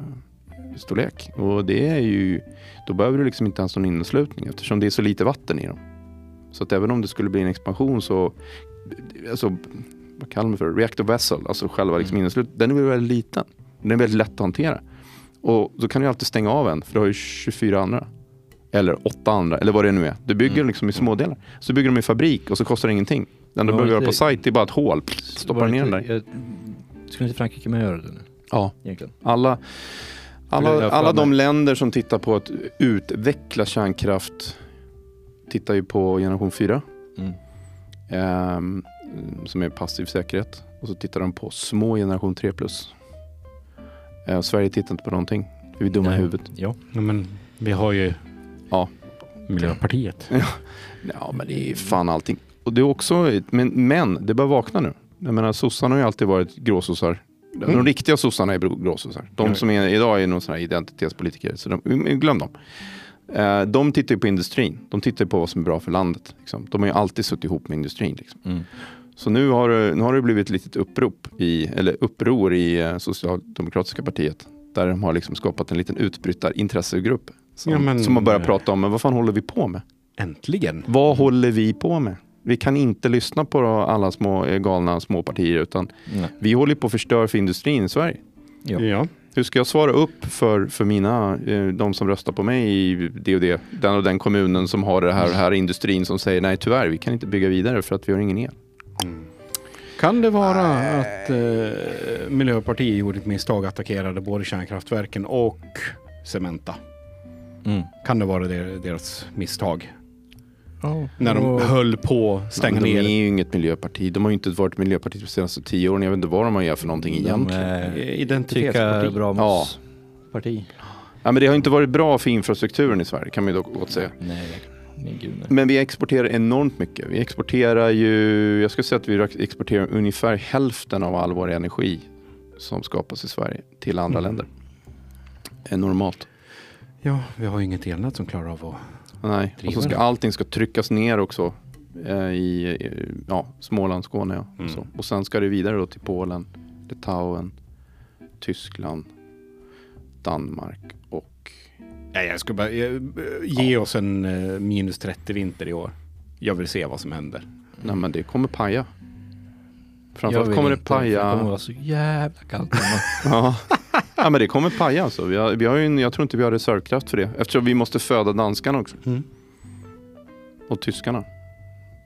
[SPEAKER 1] storlek. Och det är ju, då behöver du liksom inte ens någon inneslutning eftersom det är så lite vatten i dem. Så att även om det skulle bli en expansion så, alltså, vad kallar man för det? reactor vessel, alltså själva liksom
[SPEAKER 3] Mm.
[SPEAKER 1] inneslut, den är väl väldigt liten. Den är väldigt lätt att hantera. Och då kan du alltid stänga av en, för du har ju 24 andra. Eller åtta andra, eller vad det nu är. Du bygger
[SPEAKER 3] Mm.
[SPEAKER 1] liksom i smådelar. Så bygger de i fabrik och så kostar det ingenting. Det enda du
[SPEAKER 3] Ja,
[SPEAKER 1] behöver göra på
[SPEAKER 3] det-
[SPEAKER 1] sajt är bara ett hål. Stoppar
[SPEAKER 3] Var
[SPEAKER 1] ner
[SPEAKER 3] inte-
[SPEAKER 1] den där.
[SPEAKER 3] jag- Skulle inte Frankrike med göra det nu
[SPEAKER 1] Ja.
[SPEAKER 3] egentligen?
[SPEAKER 1] Alla,
[SPEAKER 2] Eller
[SPEAKER 1] alla,
[SPEAKER 2] därför
[SPEAKER 1] alla
[SPEAKER 2] att-
[SPEAKER 1] de länder som tittar på att utveckla kärnkraft tittar ju på generation 4
[SPEAKER 3] Mm.
[SPEAKER 1] ehm, som är passiv säkerhet och så tittar de på små generation 3 plus. Eh, Sverige tittar inte på någonting. Vi är dumma i
[SPEAKER 3] Nej.
[SPEAKER 1] huvudet.
[SPEAKER 3] Ja.
[SPEAKER 2] Ja, men vi har ju
[SPEAKER 1] Ja.
[SPEAKER 2] Miljöpartiet.
[SPEAKER 1] Ja men det är fan allting. Och det är också, men, men det börjar vakna nu. Jag menar sossarna har ju alltid varit gråsossar. De
[SPEAKER 2] Mm.
[SPEAKER 1] riktiga sossarna är bro- gråsossar. De
[SPEAKER 2] Ja.
[SPEAKER 1] som är, idag är någon sån här identitetspolitiker. Så de, mm, glöm dem. Eh, de tittar ju på industrin. De tittar ju på vad som är bra för landet. Liksom. De har ju alltid suttit ihop med industrin. Liksom.
[SPEAKER 3] Mm.
[SPEAKER 1] Så nu har, det- nu har det blivit ett litet upprop i, eller uppror i eh, Socialdemokratiska partiet. Där de har liksom skapat en liten utbrytarintressegrupp. Som,
[SPEAKER 2] Ja, men- eh,
[SPEAKER 1] som har börjat prata om, men vad fan håller vi på med?
[SPEAKER 2] Äntligen!
[SPEAKER 1] Vad håller vi på med? Vi kan inte lyssna på alla små eh, galna småpartier utan
[SPEAKER 3] Nej.
[SPEAKER 1] vi håller på att förstöra för industrin i Sverige.
[SPEAKER 3] Ja.
[SPEAKER 2] Ja.
[SPEAKER 1] Hur ska jag svara upp för, för mina, eh, de som röstar på mig i det och det, den och den kommunen som har det här och här industrin som säger nej tyvärr, vi kan inte bygga vidare för att vi har ingen el.
[SPEAKER 2] Mm. Kan det vara att eh, Miljöpartiet gjorde ett misstag och attackerade både kärnkraftverken och Cementa?
[SPEAKER 3] Mm.
[SPEAKER 2] Kan det vara der- deras misstag?
[SPEAKER 3] Ja.
[SPEAKER 2] När de
[SPEAKER 3] Och-
[SPEAKER 2] höll på att stänga
[SPEAKER 1] Ja, men de är
[SPEAKER 2] ner.
[SPEAKER 1] ju inget miljöparti. De har ju inte varit miljöparti de senaste tio åren. Jag vet inte vad de har gjort för någonting egentligen.
[SPEAKER 3] De, eh, Tycka
[SPEAKER 2] Identitetsparti.
[SPEAKER 3] bra om
[SPEAKER 1] Ja.
[SPEAKER 3] oss. Parti.
[SPEAKER 1] Ja, men det har ju inte varit bra för infrastrukturen i Sverige kan man ju dock gott säga.
[SPEAKER 3] Nej, men gud nej.
[SPEAKER 1] Men vi exporterar enormt mycket. Vi exporterar ju, jag skulle säga att vi exporterar ungefär hälften av all vår energi som skapas i Sverige till andra
[SPEAKER 2] Mm.
[SPEAKER 1] länder. Är normalt.
[SPEAKER 2] Ja, vi har ju inget elnät som klarar av att...
[SPEAKER 1] Nej, och så
[SPEAKER 2] Driver
[SPEAKER 1] ska
[SPEAKER 2] det.
[SPEAKER 1] allting ska tryckas ner också eh, i eh, ja, Småland, Skåne ja. och så.
[SPEAKER 2] Mm.
[SPEAKER 1] Och sen ska det vidare då till Polen, Litauen, Tyskland, Danmark och
[SPEAKER 2] Nej, jag skulle bara... eh, ge oss en eh, minus 30 vinter i år. Jag vill se vad som händer.
[SPEAKER 1] nej men det kommer paja.
[SPEAKER 3] Jag
[SPEAKER 1] Framförallt
[SPEAKER 3] vill
[SPEAKER 1] kommer det
[SPEAKER 3] inte, för
[SPEAKER 1] paja.
[SPEAKER 3] Det kommer vara så jävla kallt. hemma.
[SPEAKER 1] Ja. ja, men det kommer paja alltså. Vi har, vi har ju en, jag tror inte vi har reservkraft för det. Eftersom vi måste föda danskarna också. Och tyskarna.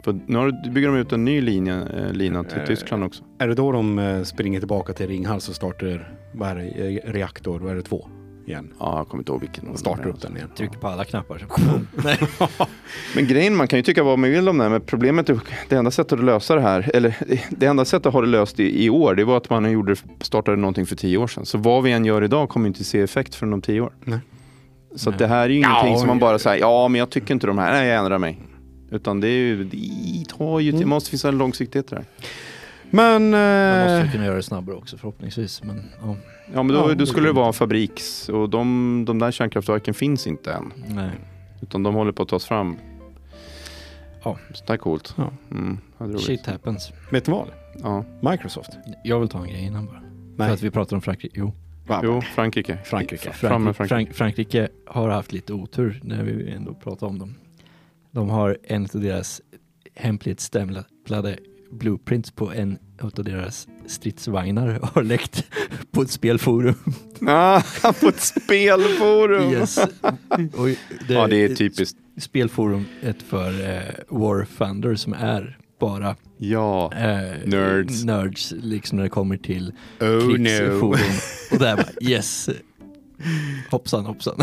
[SPEAKER 1] För nu har, du- bygger de ut en ny linje, eh, lina till
[SPEAKER 2] Eh,
[SPEAKER 1] Tyskland också.
[SPEAKER 2] Är det då de eh, springer tillbaka till Ringhals och startar vad är det, eh, reaktor, vad är det två igen?
[SPEAKER 1] Ja, jag kommer inte ihåg vilken.
[SPEAKER 2] Och startar upp den igen.
[SPEAKER 3] Tryck på alla knappar. Så.
[SPEAKER 1] Men grejen, man kan ju tycka vad man vill om det här, men problemet är det enda sättet att lösa det här, eller det enda sättet att ha det löst i, i år, det var att man gjorde, startade någonting för tio år sedan. Så vad vi än gör idag kommer inte se effekt förrän om tio år.
[SPEAKER 2] Nej.
[SPEAKER 1] Så att det här är ju ingenting
[SPEAKER 2] Ja,
[SPEAKER 1] som man
[SPEAKER 2] ja.
[SPEAKER 1] bara säger, ja men jag tycker inte de här, nej jag ändrar mig. Utan det, är ju, det tar ju, det måste finnas en långsiktighet där.
[SPEAKER 2] Men...
[SPEAKER 3] Man måste ju
[SPEAKER 2] Eh,
[SPEAKER 3] kunna göra det snabbare också förhoppningsvis. Men, ja,
[SPEAKER 1] Ja men då,
[SPEAKER 2] Ja,
[SPEAKER 1] då skulle det vara en fabriks, och de, de där kärnkraftverken finns inte än.
[SPEAKER 3] nej.
[SPEAKER 1] Utan de håller på att tas fram.
[SPEAKER 3] Ja.
[SPEAKER 1] Så det är coolt.
[SPEAKER 2] Ja.
[SPEAKER 1] Mm, det är roligt.
[SPEAKER 3] Shit happens.
[SPEAKER 2] vet du vad?
[SPEAKER 1] Ja.
[SPEAKER 2] Microsoft.
[SPEAKER 3] Jag vill ta en grej innan bara. För
[SPEAKER 2] Nej,
[SPEAKER 3] att vi pratar om Frankrike. Jo.
[SPEAKER 2] va?
[SPEAKER 1] Jo, Frankrike.
[SPEAKER 2] Frankrike.
[SPEAKER 1] Fram med
[SPEAKER 3] Frankrike, Frank- Frankrike har haft lite otur när vi ändå pratar om dem. De har en av deras hemligt stämplade blueprints på en av deras stridsvagnar har läckt på ett spelforum.
[SPEAKER 1] Ah, på ett spelforum.
[SPEAKER 3] Yes. Och det,
[SPEAKER 1] Ja, det är typiskt.
[SPEAKER 3] Spelforum ett för eh, War Thunder som är bara
[SPEAKER 1] Ja.
[SPEAKER 3] eh,
[SPEAKER 1] Nerds.
[SPEAKER 3] nerds liksom när det kommer till
[SPEAKER 2] Oh
[SPEAKER 3] krigsforum. Och där bara yes. Hoppsan hoppsan.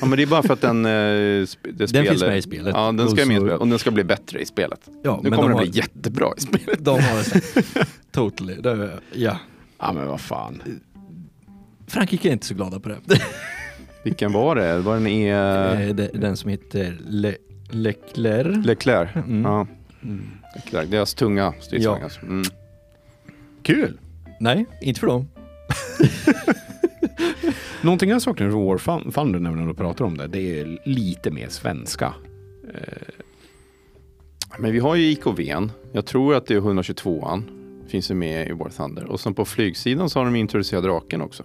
[SPEAKER 1] ja, men det är bara för att den... eh, sp- det
[SPEAKER 3] Den finns
[SPEAKER 1] spelet-
[SPEAKER 3] med i spelet.
[SPEAKER 1] Ja, den
[SPEAKER 3] Och
[SPEAKER 1] ska med i
[SPEAKER 3] så-
[SPEAKER 1] spelet. Och den ska bli bättre i spelet.
[SPEAKER 3] Ja,
[SPEAKER 1] Nu
[SPEAKER 3] men
[SPEAKER 1] kommer
[SPEAKER 3] de
[SPEAKER 1] den bli
[SPEAKER 3] har-
[SPEAKER 1] jättebra i spelet.
[SPEAKER 3] De har så här, totally. Det, ja.
[SPEAKER 2] Ja men vad fan.
[SPEAKER 3] Frankrike är inte så glada på det.
[SPEAKER 1] Eh. Vilken var det? Var den E...
[SPEAKER 3] Eh, det- Den som heter Le, Leclerc.
[SPEAKER 1] Leclerc?
[SPEAKER 3] Mm.
[SPEAKER 1] Ja, Leclerc. Deras tunga stridsvagn.
[SPEAKER 3] Ja.
[SPEAKER 1] Alltså. Mm.
[SPEAKER 2] Kul!
[SPEAKER 3] Nej, inte för dem.
[SPEAKER 2] Någonting jag saknar från War Fun- Thunder när vi ändå pratar om det, det är lite mer svenska.
[SPEAKER 1] Men vi har ju IKVn. Jag tror att det är 122an. Finns ju med i War Thunder. Och sen på flygsidan så har de introducerat draken också.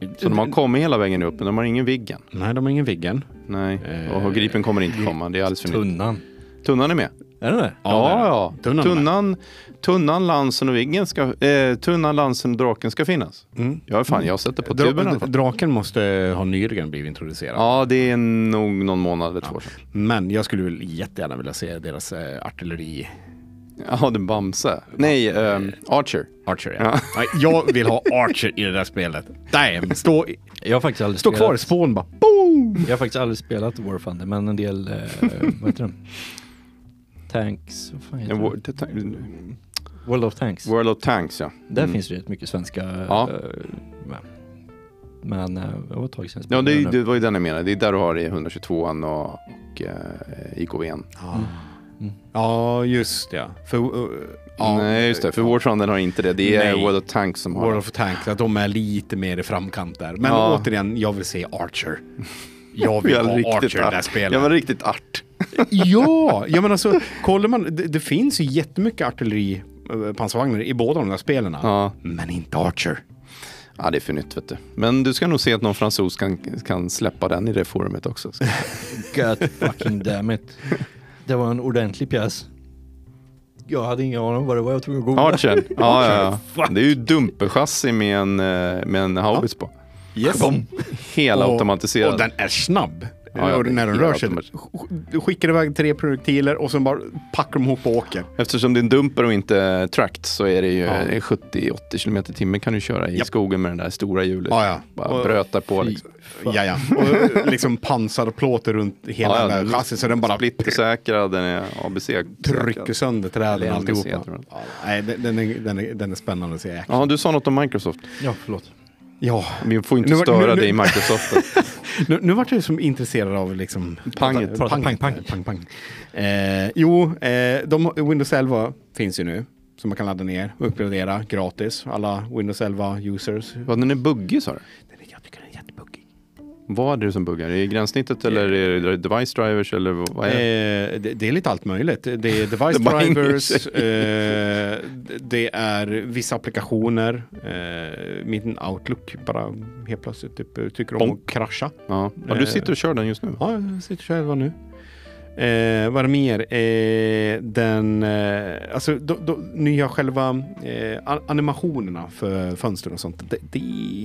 [SPEAKER 1] Så de har
[SPEAKER 3] Mm.
[SPEAKER 1] kommit hela vägen upp, men de har ingen Viggen.
[SPEAKER 2] Nej, de har ingen Viggen.
[SPEAKER 1] Nej,
[SPEAKER 2] Eh,
[SPEAKER 1] och Gripen kommer inte komma. Det är alldeles för nytt.
[SPEAKER 3] Tunnan.
[SPEAKER 1] Tunnan är med.
[SPEAKER 3] Är det det?
[SPEAKER 1] Ja, ja.
[SPEAKER 2] det är det. Tunnan är
[SPEAKER 1] Tunnan, tunnan, lansen och viggen ska, eh, tunnan, lansen och draken ska finnas.
[SPEAKER 2] Mm.
[SPEAKER 1] Ja, fan, jag sätter på tuben i alla
[SPEAKER 2] Dra-
[SPEAKER 1] fall.
[SPEAKER 2] draken måste ha nyligen blivit introducerad.
[SPEAKER 1] Ja, det är nog någon månad eller två sedan.
[SPEAKER 2] Men jag skulle väl jättegärna vilja se deras eh, artilleri...
[SPEAKER 1] Ja, det är Bamse. Nej, ehm, Archer.
[SPEAKER 2] Archer, ja. Nej, jag vill ha Archer i det där spelet. Damn! Stå,
[SPEAKER 3] Jag har faktiskt aldrig
[SPEAKER 2] stå
[SPEAKER 3] spelat.
[SPEAKER 2] kvar i spån bara. Boom!
[SPEAKER 3] Jag har faktiskt aldrig spelat War Thunder, men en del, eh, vad heter den? Tanks, vad fan heter
[SPEAKER 1] Eh,
[SPEAKER 3] den?
[SPEAKER 1] Wo- det ta-
[SPEAKER 3] World of Tanks.
[SPEAKER 1] World of Tanks, ja.
[SPEAKER 3] Där
[SPEAKER 1] Mm.
[SPEAKER 3] finns det rätt mycket svenska.
[SPEAKER 1] Ja.
[SPEAKER 3] eh, med. Men eh, det var ett tag sedan jag
[SPEAKER 1] Ja, det, är-
[SPEAKER 3] spelade
[SPEAKER 1] det var ju den jag menade. Det är där du har i 122an och, och eh, IKVn.
[SPEAKER 3] Mm.
[SPEAKER 2] Ja, just ja. För, eh, ja.
[SPEAKER 1] Nej, just det. För War Thunder har inte det. Det är
[SPEAKER 2] Nej.
[SPEAKER 1] World of Tanks som har
[SPEAKER 2] World of Tanks, att de är lite mer i framkant där. Men
[SPEAKER 1] Ja.
[SPEAKER 2] återigen, jag vill se Archer. Jag
[SPEAKER 1] det.
[SPEAKER 2] vill
[SPEAKER 1] Ja,
[SPEAKER 2] ha Archer i det här
[SPEAKER 1] art.
[SPEAKER 2] spelet.
[SPEAKER 1] Ja, men riktigt art.
[SPEAKER 2] Ja, ja men alltså, kollar man, det, det finns ju jättemycket artilleri eh, pansarvagnar i båda de där spelen.
[SPEAKER 1] Ja.
[SPEAKER 2] Men inte Archer.
[SPEAKER 1] Ja, det är för nytt vet du. Men du ska nog se att någon fransos kan, kan släppa den i det forumet också. Ska-
[SPEAKER 3] God fucking damn it. Det var en ordentlig pjäs. Jag hade ingen aning om vad det var jag tog och googlade.
[SPEAKER 1] Archer. Ja, ja, ja. Det är ju dumperchassi med en, eh, med en haubits på.
[SPEAKER 2] Yes.
[SPEAKER 1] Hela
[SPEAKER 2] Och
[SPEAKER 1] automatiserad.
[SPEAKER 2] den är snabb.
[SPEAKER 1] Ja, ja,
[SPEAKER 2] Och när den
[SPEAKER 1] det är
[SPEAKER 2] rör sig.
[SPEAKER 1] automat-
[SPEAKER 2] sk- sk- Skickar iväg tre projektiler och sen bara packar de ihop och åker.
[SPEAKER 1] Eftersom det är en dumper och inte tracked så är det ju
[SPEAKER 2] Ja.
[SPEAKER 1] eh, 70-80 km i timmen kan du köra i
[SPEAKER 2] Japp.
[SPEAKER 1] skogen med den där stora hjulet.
[SPEAKER 2] Ja, ja.
[SPEAKER 1] Bara
[SPEAKER 2] Och-
[SPEAKER 1] bröta på liksom.
[SPEAKER 2] Ja, ja. Och liksom pansarplåter runt hela
[SPEAKER 1] Ja, ja.
[SPEAKER 2] den där chassin så den bara
[SPEAKER 1] Splittersäkrad, den är ABC. -säkrad.
[SPEAKER 2] trycker sönder träden
[SPEAKER 1] Eller
[SPEAKER 2] och
[SPEAKER 1] LBC,
[SPEAKER 2] alltihopa.
[SPEAKER 1] tror
[SPEAKER 2] Ja, nej, den, den, är, den, är, den är spännande att se.
[SPEAKER 1] Ja, du sa något om Microsoft.
[SPEAKER 3] Ja, förlåt.
[SPEAKER 2] Ja,
[SPEAKER 1] Vi får inte
[SPEAKER 2] Nu var-
[SPEAKER 1] störa
[SPEAKER 2] nu- nu-
[SPEAKER 1] dig i Microsoft.
[SPEAKER 2] nu, nu vart jag som intresserad av liksom...
[SPEAKER 1] Panget.
[SPEAKER 2] Pang, pang, pang. pang, pang. Eh, jo, eh, de, Windows 11 finns ju nu. Som man kan ladda ner och uppgradera gratis. Alla Windows 11-users.
[SPEAKER 1] Vad, den är buggig sa du?
[SPEAKER 2] Jag tycker den är jättebuggig.
[SPEAKER 1] Vad är det som buggar? Är det gränssnittet eller är det device drivers eller vad vad är det?
[SPEAKER 2] Eh, det, det är lite allt möjligt. Det är device
[SPEAKER 1] Det bara hänger
[SPEAKER 2] drivers,
[SPEAKER 1] sig.
[SPEAKER 2] eh, det är vissa applikationer. Eh, min Outlook bara helt plötsligt typ, tycker om att krascha.
[SPEAKER 1] Ja. ja, du sitter och kör den just nu?
[SPEAKER 2] Ja, jag sitter själva nu. Eh, vad är det mer? Eh, den, eh, alltså do, do, nya själva eh, a- animationerna för fönster och sånt. Det, det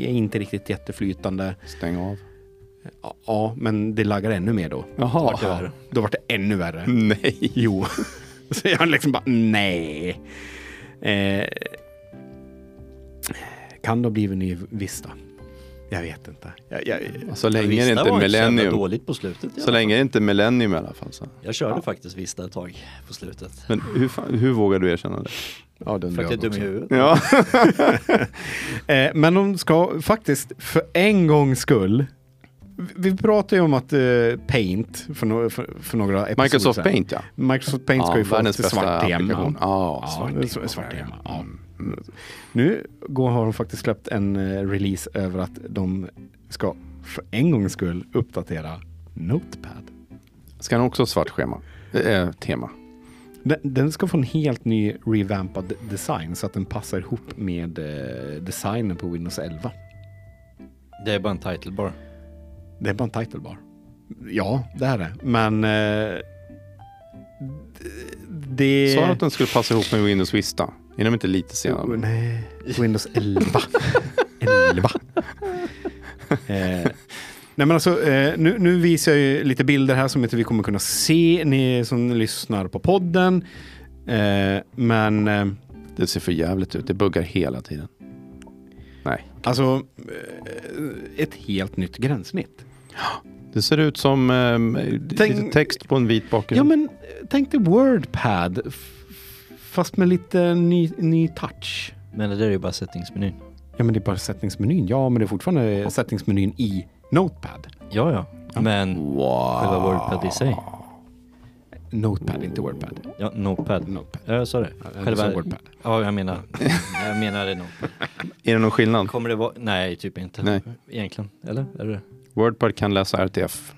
[SPEAKER 2] är inte riktigt jätteflytande.
[SPEAKER 1] Stäng av.
[SPEAKER 2] Ja, men det laggar ännu mer då.
[SPEAKER 1] Jaha.
[SPEAKER 3] det värre?
[SPEAKER 2] Då vart det ännu värre.
[SPEAKER 1] Nej.
[SPEAKER 2] Jo. Så jag liksom bara, nej. Eh, kan det ha blivit ny Vista? Jag vet inte. Jag, jag,
[SPEAKER 1] Alltså, Så länge
[SPEAKER 3] Vista
[SPEAKER 1] det inte
[SPEAKER 3] var
[SPEAKER 1] är
[SPEAKER 3] inte så jävla
[SPEAKER 1] millennium.
[SPEAKER 3] dåligt på slutet. i
[SPEAKER 1] Så
[SPEAKER 3] alla
[SPEAKER 1] länge det inte är millennium i alla fall. Så.
[SPEAKER 3] fall. Jag körde faktiskt Vista ett tag på slutet.
[SPEAKER 1] Men hur, fan, hur vågar du erkänna det?
[SPEAKER 2] ja, den
[SPEAKER 3] För att jag är dum i huvudet.
[SPEAKER 1] Mm. Ja.
[SPEAKER 2] Eh, men de ska faktiskt för en gångs skull. Vi vi pratade ju om att eh, Paint för, no för, för några episoder
[SPEAKER 1] Microsoft
[SPEAKER 2] sedan.
[SPEAKER 1] Paint ja.
[SPEAKER 2] Microsoft Paint ska
[SPEAKER 1] ja
[SPEAKER 2] ju få
[SPEAKER 1] världens
[SPEAKER 2] ett
[SPEAKER 1] bästa
[SPEAKER 2] svart tema.
[SPEAKER 1] applikation. Ja,
[SPEAKER 2] Ja,
[SPEAKER 1] svart
[SPEAKER 2] det är
[SPEAKER 1] tema.
[SPEAKER 2] svart tema. Ja. Nu går, har de faktiskt släppt en eh, release över att de ska för en gångs skull uppdatera Notepad.
[SPEAKER 1] Ska han också ha svart schema? Eh, tema.
[SPEAKER 2] Den, den ska få en helt ny revampad design så att den passar ihop med eh, designen på Windows 11.
[SPEAKER 3] Det är bara en title bar.
[SPEAKER 2] Det är bara en title bar. Ja, det är det. Men... Eh, d- det...
[SPEAKER 1] Sa du att den skulle passa ihop med Windows Vista? Är de inte lite
[SPEAKER 2] Oh,
[SPEAKER 1] senare?
[SPEAKER 2] nej. Windows 11. 11. eh, nej men alltså, eh, nu, nu visar jag ju lite bilder här som inte vi kommer kunna se, ni som lyssnar på podden. Eh, men eh,
[SPEAKER 1] Det ser för jävligt ut. Det buggar hela tiden. Nej.
[SPEAKER 2] alltså, eh, ett helt nytt gränssnitt.
[SPEAKER 1] Det ser ut som ehm,
[SPEAKER 2] Tänk-
[SPEAKER 1] lite text på en vit bakgrund.
[SPEAKER 2] Ja men eh, tänk dig Wordpad, f- fast med lite ny, ny touch.
[SPEAKER 3] Men det där är ju bara settingsmenyn.
[SPEAKER 2] Ja men det är bara sättningsmenyn. Ja men det är fortfarande sättningsmenyn i Notepad.
[SPEAKER 3] Ja, ja. Men
[SPEAKER 1] Wow.
[SPEAKER 3] själva Wordpad i sig.
[SPEAKER 2] Notepad, inte Wordpad.
[SPEAKER 3] Ja, Notepad.
[SPEAKER 1] Mm.
[SPEAKER 2] Notepad.
[SPEAKER 3] Ja, jag sa det.
[SPEAKER 2] Ja, du
[SPEAKER 3] Själva...
[SPEAKER 2] sa Wordpad.
[SPEAKER 3] Ja, jag menar. Jag menar det nog.
[SPEAKER 1] Är det någon skillnad?
[SPEAKER 3] Kommer det vara? Nej, typ inte.
[SPEAKER 1] Nej.
[SPEAKER 3] Egentligen. Eller? Är det
[SPEAKER 1] Wordpad kan läsa RTF.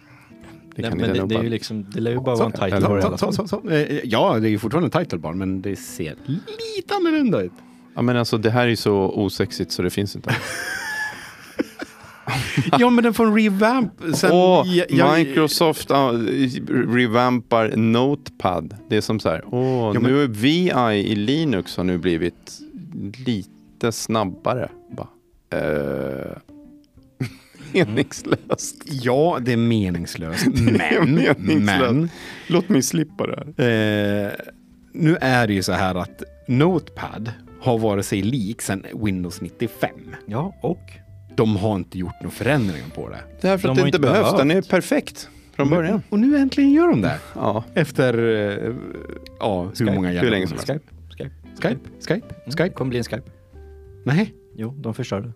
[SPEAKER 1] Det
[SPEAKER 3] Nej,
[SPEAKER 1] kan
[SPEAKER 3] men
[SPEAKER 1] inte
[SPEAKER 3] det, det är ju
[SPEAKER 1] Notepad.
[SPEAKER 3] liksom, det lär ju bara
[SPEAKER 2] Så,
[SPEAKER 3] vara en title
[SPEAKER 1] eller-
[SPEAKER 3] bar i
[SPEAKER 2] Så,
[SPEAKER 3] alla
[SPEAKER 2] så,
[SPEAKER 3] fall.
[SPEAKER 2] så, så. Eh, Ja, det är ju fortfarande en title bar, men det ser lite annorlunda ut.
[SPEAKER 1] Ja, men alltså, det här är ju så osexigt så det finns inte.
[SPEAKER 2] Ja, men den får en revamp. Sen,
[SPEAKER 1] Ah. Åh,
[SPEAKER 2] jag- jag-
[SPEAKER 1] Microsoft ja, revampar Notepad. Det är som så här, åh,
[SPEAKER 2] Ja, men-
[SPEAKER 1] nu är VI i Linux har nu blivit lite snabbare. Bara, eh, meningslöst.
[SPEAKER 2] Ja, det är meningslöst. Men,
[SPEAKER 1] meningslöst.
[SPEAKER 2] men.
[SPEAKER 1] Låt mig slippa det här.
[SPEAKER 2] Eh, nu är det ju så här att Notepad har varit sig lik sedan Windows 95.
[SPEAKER 3] Ja, och
[SPEAKER 2] De har inte gjort några förändringar på det. Mm.
[SPEAKER 1] Det här för
[SPEAKER 3] De
[SPEAKER 1] att det
[SPEAKER 3] har
[SPEAKER 1] inte
[SPEAKER 3] inte
[SPEAKER 1] behövs, den är
[SPEAKER 3] behövt.
[SPEAKER 1] perfekt från början.
[SPEAKER 2] Och nu äntligen gör de det.
[SPEAKER 1] Ja.
[SPEAKER 2] Efter, eh, ja, hur många
[SPEAKER 1] hur
[SPEAKER 2] jävla-
[SPEAKER 1] länge Mm. som helst.
[SPEAKER 3] Skype. Skype.
[SPEAKER 2] Skype? Skype?
[SPEAKER 3] Skype
[SPEAKER 2] Skype?
[SPEAKER 3] kommer bli en Skype.
[SPEAKER 2] Nej.
[SPEAKER 3] Jo, de förstörde.